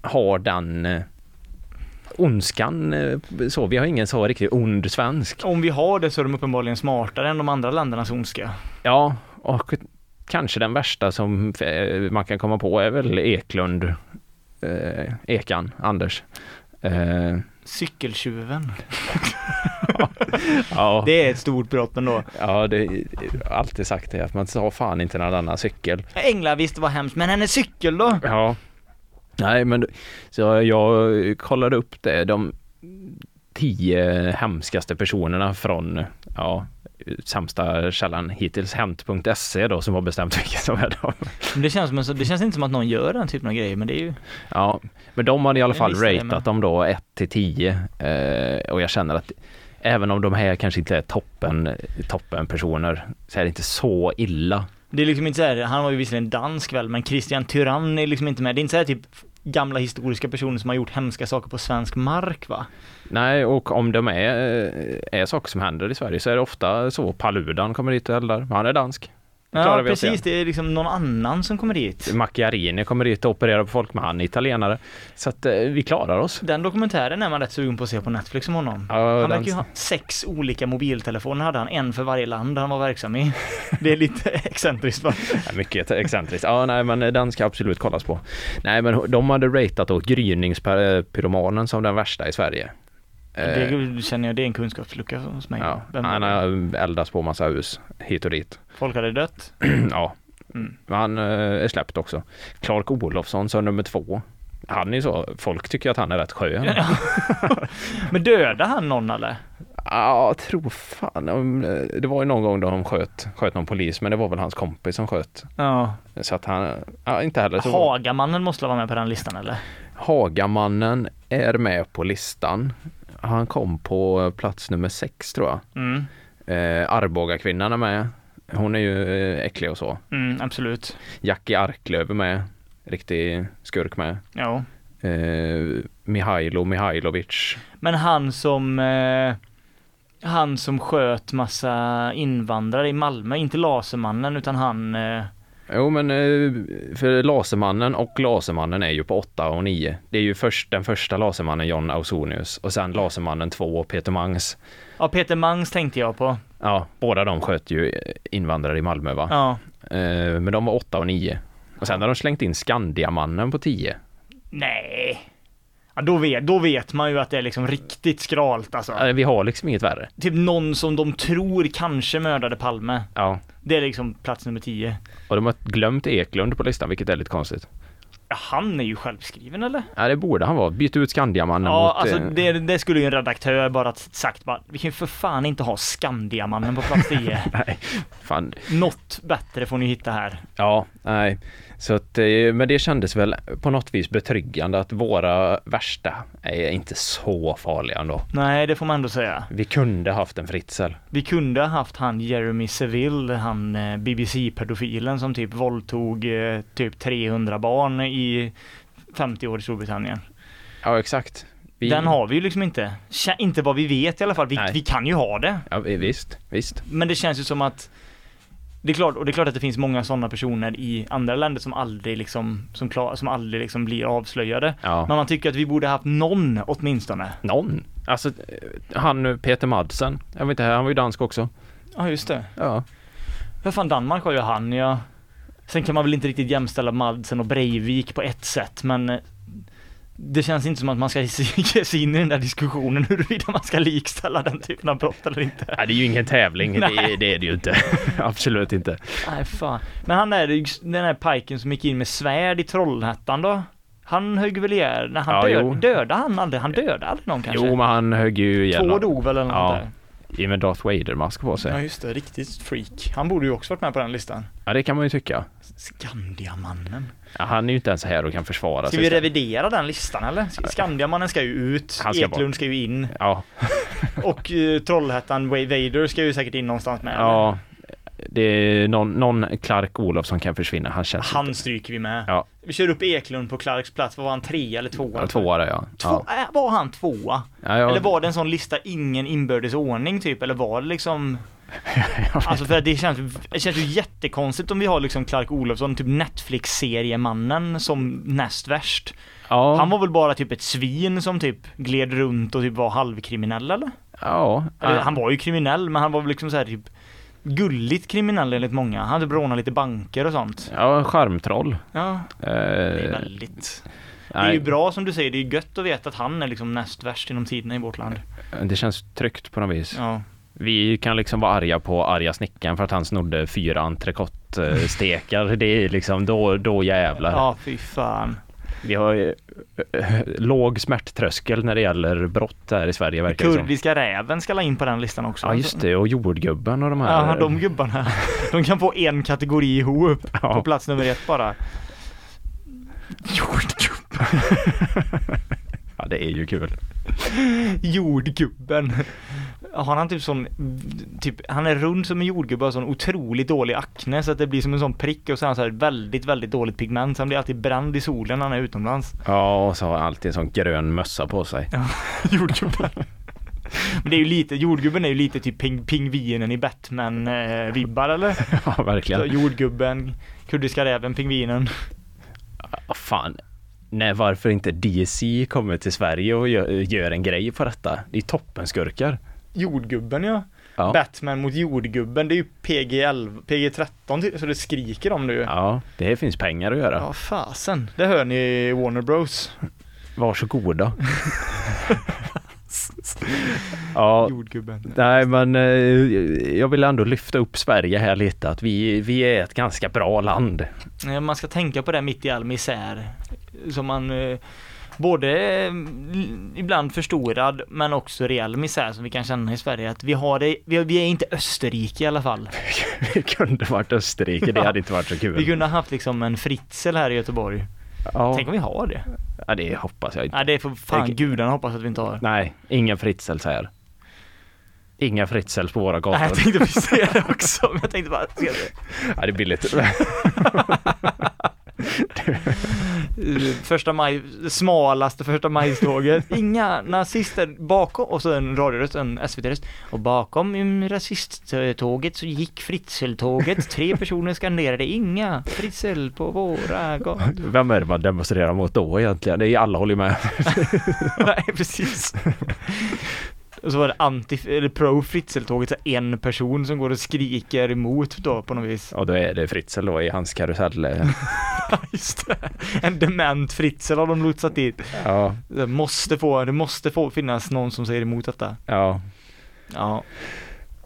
[SPEAKER 2] har den eh, ondskan, eh, så. Vi har ingen så riktigt ond svensk.
[SPEAKER 3] Om vi har det så är de uppenbarligen smartare än de andra ländernas ondska.
[SPEAKER 2] Ja, och kanske den värsta som eh, man kan komma på är väl Eklund, eh, Ekan, Anders. Eh,
[SPEAKER 3] Cykeltjuven.
[SPEAKER 2] ja,
[SPEAKER 3] Det är ett stort brott ändå.
[SPEAKER 2] ja, det jag har alltid sagt det, att man sa fan inte någon annan cykel.
[SPEAKER 3] Engla visst det var hemskt, men hennes cykel då?
[SPEAKER 2] Ja. Nej, men så jag kollade upp det, de tio hemskaste personerna från, ja, sämsta källan hittills, hämt.se E då, som har bestämt vilka som är de.
[SPEAKER 3] Men Det känns, som en så- det känns inte som att någon gör den typen av grejer, men det är ju...
[SPEAKER 2] Ja, men de hade i alla
[SPEAKER 3] Jag
[SPEAKER 2] fall
[SPEAKER 3] missade det med.
[SPEAKER 2] ratat dem då 1 till 10 eh, och jag känner att även om de här kanske inte är toppen, toppen personer så är det inte så illa.
[SPEAKER 3] Det är liksom inte så här, han var ju visserligen dansk väl, men Christian Tyrann är liksom inte med. Det är inte så här typ gamla historiska personer som har gjort hemska saker på svensk mark va?
[SPEAKER 2] Nej, och om de är, eh, är saker som händer i Sverige så är det ofta så Paludan kommer dit och eldar, han är dansk. Det klarar
[SPEAKER 3] Ja,
[SPEAKER 2] vi oss
[SPEAKER 3] precis. Det är liksom någon annan som kommer dit.
[SPEAKER 2] Macchiarini kommer dit och opererar på folk, men han är italienare. Så att eh, vi klarar oss.
[SPEAKER 3] Den dokumentären är man rätt sugen på att se på Netflix om honom.
[SPEAKER 2] Ja,
[SPEAKER 3] han
[SPEAKER 2] den-
[SPEAKER 3] verkar ju ha sex olika mobiltelefoner hade han, en för varje land han var verksam i. Det är lite excentriskt va?
[SPEAKER 2] Ja, mycket excentriskt. Ja, nej, men den ska absolut kollas på. Nej, men de hade ratat då gryningspyromanen som den värsta i Sverige. Eh,
[SPEAKER 3] Det känner jag, det är en kunskapslucka hos mig.
[SPEAKER 2] ja,
[SPEAKER 3] Vem-
[SPEAKER 2] han har eldats på massa hus hit och dit.
[SPEAKER 3] Folk hade dött.
[SPEAKER 2] ja,
[SPEAKER 3] Mm.
[SPEAKER 2] men han eh, är släppt också. Clark Olofsson som nummer två. Han är ju så, folk tycker att han är rätt skön. Ja,
[SPEAKER 3] Men dödade han någon eller?
[SPEAKER 2] jag tror fan om, eh, det var ju någon gång då de sköt, sköt någon polis, men det var väl hans kompis som sköt.
[SPEAKER 3] Ja.
[SPEAKER 2] Så att han, ja, inte heller så.
[SPEAKER 3] Hagamannen måste vara med på den listan eller?
[SPEAKER 2] Hagamannen är med på listan. Han kom på plats nummer sex tror jag.
[SPEAKER 3] Mm,
[SPEAKER 2] Eh, Arbogakvinnan är med. Hon är ju eh, äcklig och så.
[SPEAKER 3] mm absolut.
[SPEAKER 2] Jackie Arklöv är med. Riktig skurk med.
[SPEAKER 3] Ja.
[SPEAKER 2] Eh, Mihailo Mihailovic.
[SPEAKER 3] Men han som eh, han som sköt massa invandrare i Malmö, inte Lasermannen utan han eh,
[SPEAKER 2] Jo men eh, för Lasermannen och Lasermannen är ju på 8 och 9. Det är ju först, den första Lasermannen John Ausonius och sen Lasermannen 2 Peter Mangs.
[SPEAKER 3] ja Peter Mangs tänkte jag på.
[SPEAKER 2] Ja, båda de sköt ju eh, invandrare i Malmö va?
[SPEAKER 3] Ja.
[SPEAKER 2] Eh, Men de var 8 och 9. Och sen har de slängt in Skandiamannen på 10.
[SPEAKER 3] Nej. Ja, då, vet, då vet man ju att det är liksom riktigt skralt alltså.
[SPEAKER 2] Eh, Vi har liksom inget värre.
[SPEAKER 3] Typ någon som de tror kanske mördade Palme.
[SPEAKER 2] Ja.
[SPEAKER 3] Det är liksom plats nummer 10.
[SPEAKER 2] Och de har glömt Eklund på listan, vilket är lite konstigt.
[SPEAKER 3] Ja, han är ju självskriven eller?
[SPEAKER 2] Ja, det borde han vara. Byt ut Skandiamannen
[SPEAKER 3] Ja,
[SPEAKER 2] mot...
[SPEAKER 3] alltså
[SPEAKER 2] eh,
[SPEAKER 3] det, det skulle ju en redaktör bara sagt bara, vi kan ju för fan inte ha Skandiamannen på plats 10.
[SPEAKER 2] Nej, fan.
[SPEAKER 3] Något bättre får ni hitta här.
[SPEAKER 2] Ja, nej. Så att, eh, men det kändes väl på något vis betryggande att våra värsta är inte så farliga ändå.
[SPEAKER 3] Nej, det får man ändå säga.
[SPEAKER 2] Vi kunde haft en Fritzl.
[SPEAKER 3] Vi kunde ha haft han Jeremy Seville, han eh, BBC-pedofilen som typ våldtog eh, typ 300 barn i 50 år i Storbritannien.
[SPEAKER 2] Ja, exakt. Vi,
[SPEAKER 3] Den har vi ju liksom inte. Kä- Inte vad vi vet i alla fall. Vi,
[SPEAKER 2] Nej.
[SPEAKER 3] vi kan ju ha det.
[SPEAKER 2] Ja, vi- visst, visst.
[SPEAKER 3] Men det känns ju som att det är klart, och det är klart att det finns många sådana personer i andra länder som aldrig liksom, som, klar, som aldrig liksom blir avslöjade.
[SPEAKER 2] Ja.
[SPEAKER 3] Men man tycker att vi borde haft någon åtminstone.
[SPEAKER 2] Någon. Alltså, eh, han eh, Peter Madsen. Jag vet inte, han var ju dansk också.
[SPEAKER 3] Ja, just det.
[SPEAKER 2] Ja.
[SPEAKER 3] Ja, fan Danmark har ju han ja. Sen kan man väl inte riktigt jämställa Madsen och Breivik på ett sätt, men eh, det känns inte som att man ska ge sig in i den där diskussionen huruvida man ska likställa den typen av brott eller inte.
[SPEAKER 2] Nej, det är ju ingen tävling. Det, det är det ju inte. Absolut inte.
[SPEAKER 3] Nej, fan. Men han är ju- den här pajken som gick in med svärd i Trollhättan då? Han högg väl ihjäl, nej han
[SPEAKER 2] Ja,
[SPEAKER 3] död,
[SPEAKER 2] jo.
[SPEAKER 3] dödade han aldrig, han dödade aldrig någon kanske?
[SPEAKER 2] Jo, men han högg ju ihjäl
[SPEAKER 3] Två
[SPEAKER 2] någon.
[SPEAKER 3] dog väl eller något
[SPEAKER 2] Ja,
[SPEAKER 3] där?
[SPEAKER 2] I och med Darth Vader-mask på sig.
[SPEAKER 3] just det, riktigt freak. Han borde ju också varit med på den listan.
[SPEAKER 2] Ja, det kan man ju tycka.
[SPEAKER 3] Skandiamannen.
[SPEAKER 2] Ja, han är ju inte ens här och kan försvara
[SPEAKER 3] Ska
[SPEAKER 2] sig.
[SPEAKER 3] vi revidera den listan eller? Sk- Skandiamannen ska ju ut,
[SPEAKER 2] Han ska
[SPEAKER 3] Eklund ska ju in
[SPEAKER 2] Ja,
[SPEAKER 3] och eh, Trollhättan Way Vader ska ju säkert in någonstans med.
[SPEAKER 2] ja. Det är någon, någon Clark Olofsson kan försvinna. Han känns inte.
[SPEAKER 3] Han stryker vi med.
[SPEAKER 2] Ja.
[SPEAKER 3] Vi kör upp Eklund på Clarks plats, vad var han tre eller tvåa?
[SPEAKER 2] Ja, tvåa där ja.
[SPEAKER 3] Två,
[SPEAKER 2] ja.
[SPEAKER 3] äh, var han tvåa?
[SPEAKER 2] ja jag,
[SPEAKER 3] Eller var det en sån lista, ingen inbördes ordning typ? Eller var det liksom... Alltså för att det känns, det känns ju jättekonstigt om vi har liksom Clark Olofsson, typ Netflix-seriemannen som näst värst.
[SPEAKER 2] ja,
[SPEAKER 3] Han var väl bara typ ett svin som typ gled runt och typ var halvkriminell eller?
[SPEAKER 2] ja,
[SPEAKER 3] Eller, Han var ju kriminell men han var väl liksom så här typ gulligt kriminell enligt många. Han hade rånat lite banker och sånt.
[SPEAKER 2] ja, charmtroll.
[SPEAKER 3] Ja,
[SPEAKER 2] Eh,
[SPEAKER 3] det är väldigt... Det är
[SPEAKER 2] nej,
[SPEAKER 3] ju bra som du säger, det är ju gött att veta att han är liksom näst värst inom tiderna i vårt land.
[SPEAKER 2] det känns tryggt på något vis.
[SPEAKER 3] Ja.
[SPEAKER 2] Vi kan liksom vara arga på arga snickaren för att han snodde fyra entrecôte-stekar. Det är liksom, då, då jävlar.
[SPEAKER 3] Ja, fy fan.
[SPEAKER 2] Vi har eh, eh, låg smärttröskel när det gäller brott här i Sverige verkar det som.
[SPEAKER 3] Kurdiska räven ska la in på den listan också. Alltså,
[SPEAKER 2] Ja just det, och jordgubben och de här.
[SPEAKER 3] Ja, de gubbarna. De kan få en kategori ihop på
[SPEAKER 2] ja.
[SPEAKER 3] plats nummer ett bara. Jordgubb.
[SPEAKER 2] ja, det är ju kul.
[SPEAKER 3] Jordgubben. Har han typ sån, typ, han är rund som en jordgubbe och har sån otroligt dålig akne så att det blir som en sån prick och så är han så här väldigt, väldigt dåligt pigment så han blir alltid bränd i solen när han är utomlands.
[SPEAKER 2] Ja, och så har han alltid en sån grön mössa på sig.
[SPEAKER 3] Jordgubben. Men det är ju lite, jordgubben är ju lite typ ping, pingvinen i Batman-vibbar eller?
[SPEAKER 2] Ja,
[SPEAKER 3] Så
[SPEAKER 2] verkligen.
[SPEAKER 3] jordgubben, kurdiska räven, pingvinen.
[SPEAKER 2] Ja, fan. Nej, varför inte DC kommer till Sverige och gör, gör en grej på detta? Det är toppenskurkar.
[SPEAKER 3] Jordgubben ja.
[SPEAKER 2] Ja.
[SPEAKER 3] Batman mot jordgubben, det är ju PG-11, PG-13 ty- så det skriker om det ju. Ja.
[SPEAKER 2] Ja, det finns pengar att göra.
[SPEAKER 3] fasen. Det hör ni i Warner Bros.
[SPEAKER 2] Varsågoda. ja,
[SPEAKER 3] Jordgubben.
[SPEAKER 2] nej men eh, jag vill ändå lyfta upp Sverige här lite. Att vi, vi är ett ganska bra land.
[SPEAKER 3] Eh, Man ska tänka på det mitt i all misär. Som man eh, både eh, l- ibland förstorad men också reell misär som vi kan känna i Sverige. Att vi, har det, vi, vi är inte Österrike i alla fall.
[SPEAKER 2] vi kunde varit Österrike, det hade inte varit så
[SPEAKER 3] Vi
[SPEAKER 2] kul.
[SPEAKER 3] kunde ha haft liksom en Fritzl här i Göteborg.
[SPEAKER 2] Ja,
[SPEAKER 3] Tänk om vi har det?
[SPEAKER 2] ja, det hoppas jag inte.
[SPEAKER 3] Nej det får fan
[SPEAKER 2] Tänk-
[SPEAKER 3] gudarna hoppas att vi inte har.
[SPEAKER 2] Nej, inga Fritzels här. Inga Fritzels på våra
[SPEAKER 3] Nej, jag
[SPEAKER 2] gator.
[SPEAKER 3] tänkte precis säga det också, men jag tänkte bara se det.
[SPEAKER 2] Ja, det är billigt.
[SPEAKER 3] Eh, Första maj, smalaste första majståget. Inga nazister bakom, och så en radioröst, en SVT-röst. Och bakom mm, rasisttåget så gick Fritzl-tåget. Tre personer skanderade inga Fritzl på våra gator.
[SPEAKER 2] Vem är det man demonstrerar mot då egentligen? Det är alla håller med.
[SPEAKER 3] Nej, precis. Och så var det anti, eller pro-Fritzl-tåget, så en person som går och skriker emot då på något vis.
[SPEAKER 2] Ja, då är det Fritzl då i hans karusell.
[SPEAKER 3] Just det. En dement Fritzl har de lotsat dit.
[SPEAKER 2] Ja,
[SPEAKER 3] Det måste få, det måste få finnas någon som säger emot detta.
[SPEAKER 2] ja.
[SPEAKER 3] Ja.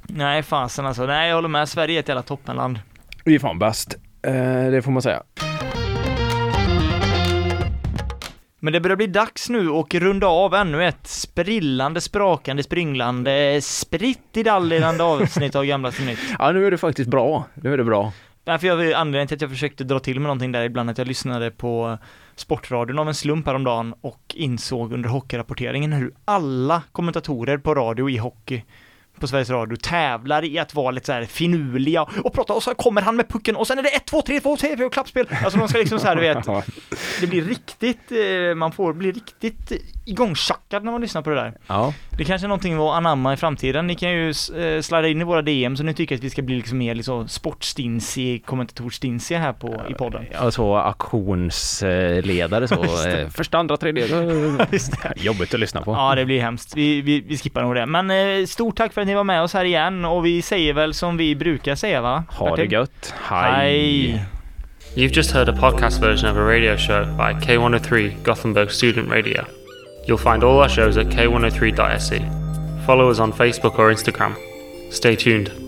[SPEAKER 3] Nej fasen alltså, nej jag håller med, Sverige är ett jävla toppenland.
[SPEAKER 2] Vi är fan bäst. Eh, det får man säga.
[SPEAKER 3] Men det börjar bli dags nu och runda av ännu ett sprillande, sprakande, springlande, sprittidallirande avsnitt av Gamla Sin Nytt.
[SPEAKER 2] Ja, nu är det faktiskt bra. Nu är det bra.
[SPEAKER 3] Nej, för jag, anledningen till att jag försökte dra till med någonting där ibland att jag lyssnade på Sportradion av en slump häromdagen och insåg under hockeyrapporteringen hur alla kommentatorer på radio i hockey på Sveriges Radio tävlar i att vara lite så här finurliga och prata och så kommer han med pucken och sen är det 1, 2, 3, 2, 3 och klappspel. Alltså de ska liksom så här, du vet,
[SPEAKER 2] Ja.
[SPEAKER 3] det blir riktigt, eh, man får bli riktigt igångtjackad när man lyssnar på det där.
[SPEAKER 2] ja.
[SPEAKER 3] Det kanske är någonting att anamma i framtiden. Ni kan ju eh, sladda in i våra DM så ni tycker att vi ska bli liksom mer liksom sportstinsig, kommentatorstinsiga här på, i podden.
[SPEAKER 2] Alltså auktionsledare så. eh, Första, andra, tredje.
[SPEAKER 3] Just det.
[SPEAKER 2] Jobbigt att lyssna på.
[SPEAKER 3] Ja, det blir hemskt. Vi, vi, vi skippar nog det. Men eh, stort tack för att ni var med oss här igen och vi säger väl som vi brukar säga va?
[SPEAKER 2] Ha det
[SPEAKER 3] Martin?
[SPEAKER 2] gött.
[SPEAKER 3] Hej!
[SPEAKER 1] You've just heard a podcast version of a radio show by K103 Gothenburg Student Radio. You'll find oh E. all our shows at k103.se. Follow us on Facebook or Instagram. Stay tuned.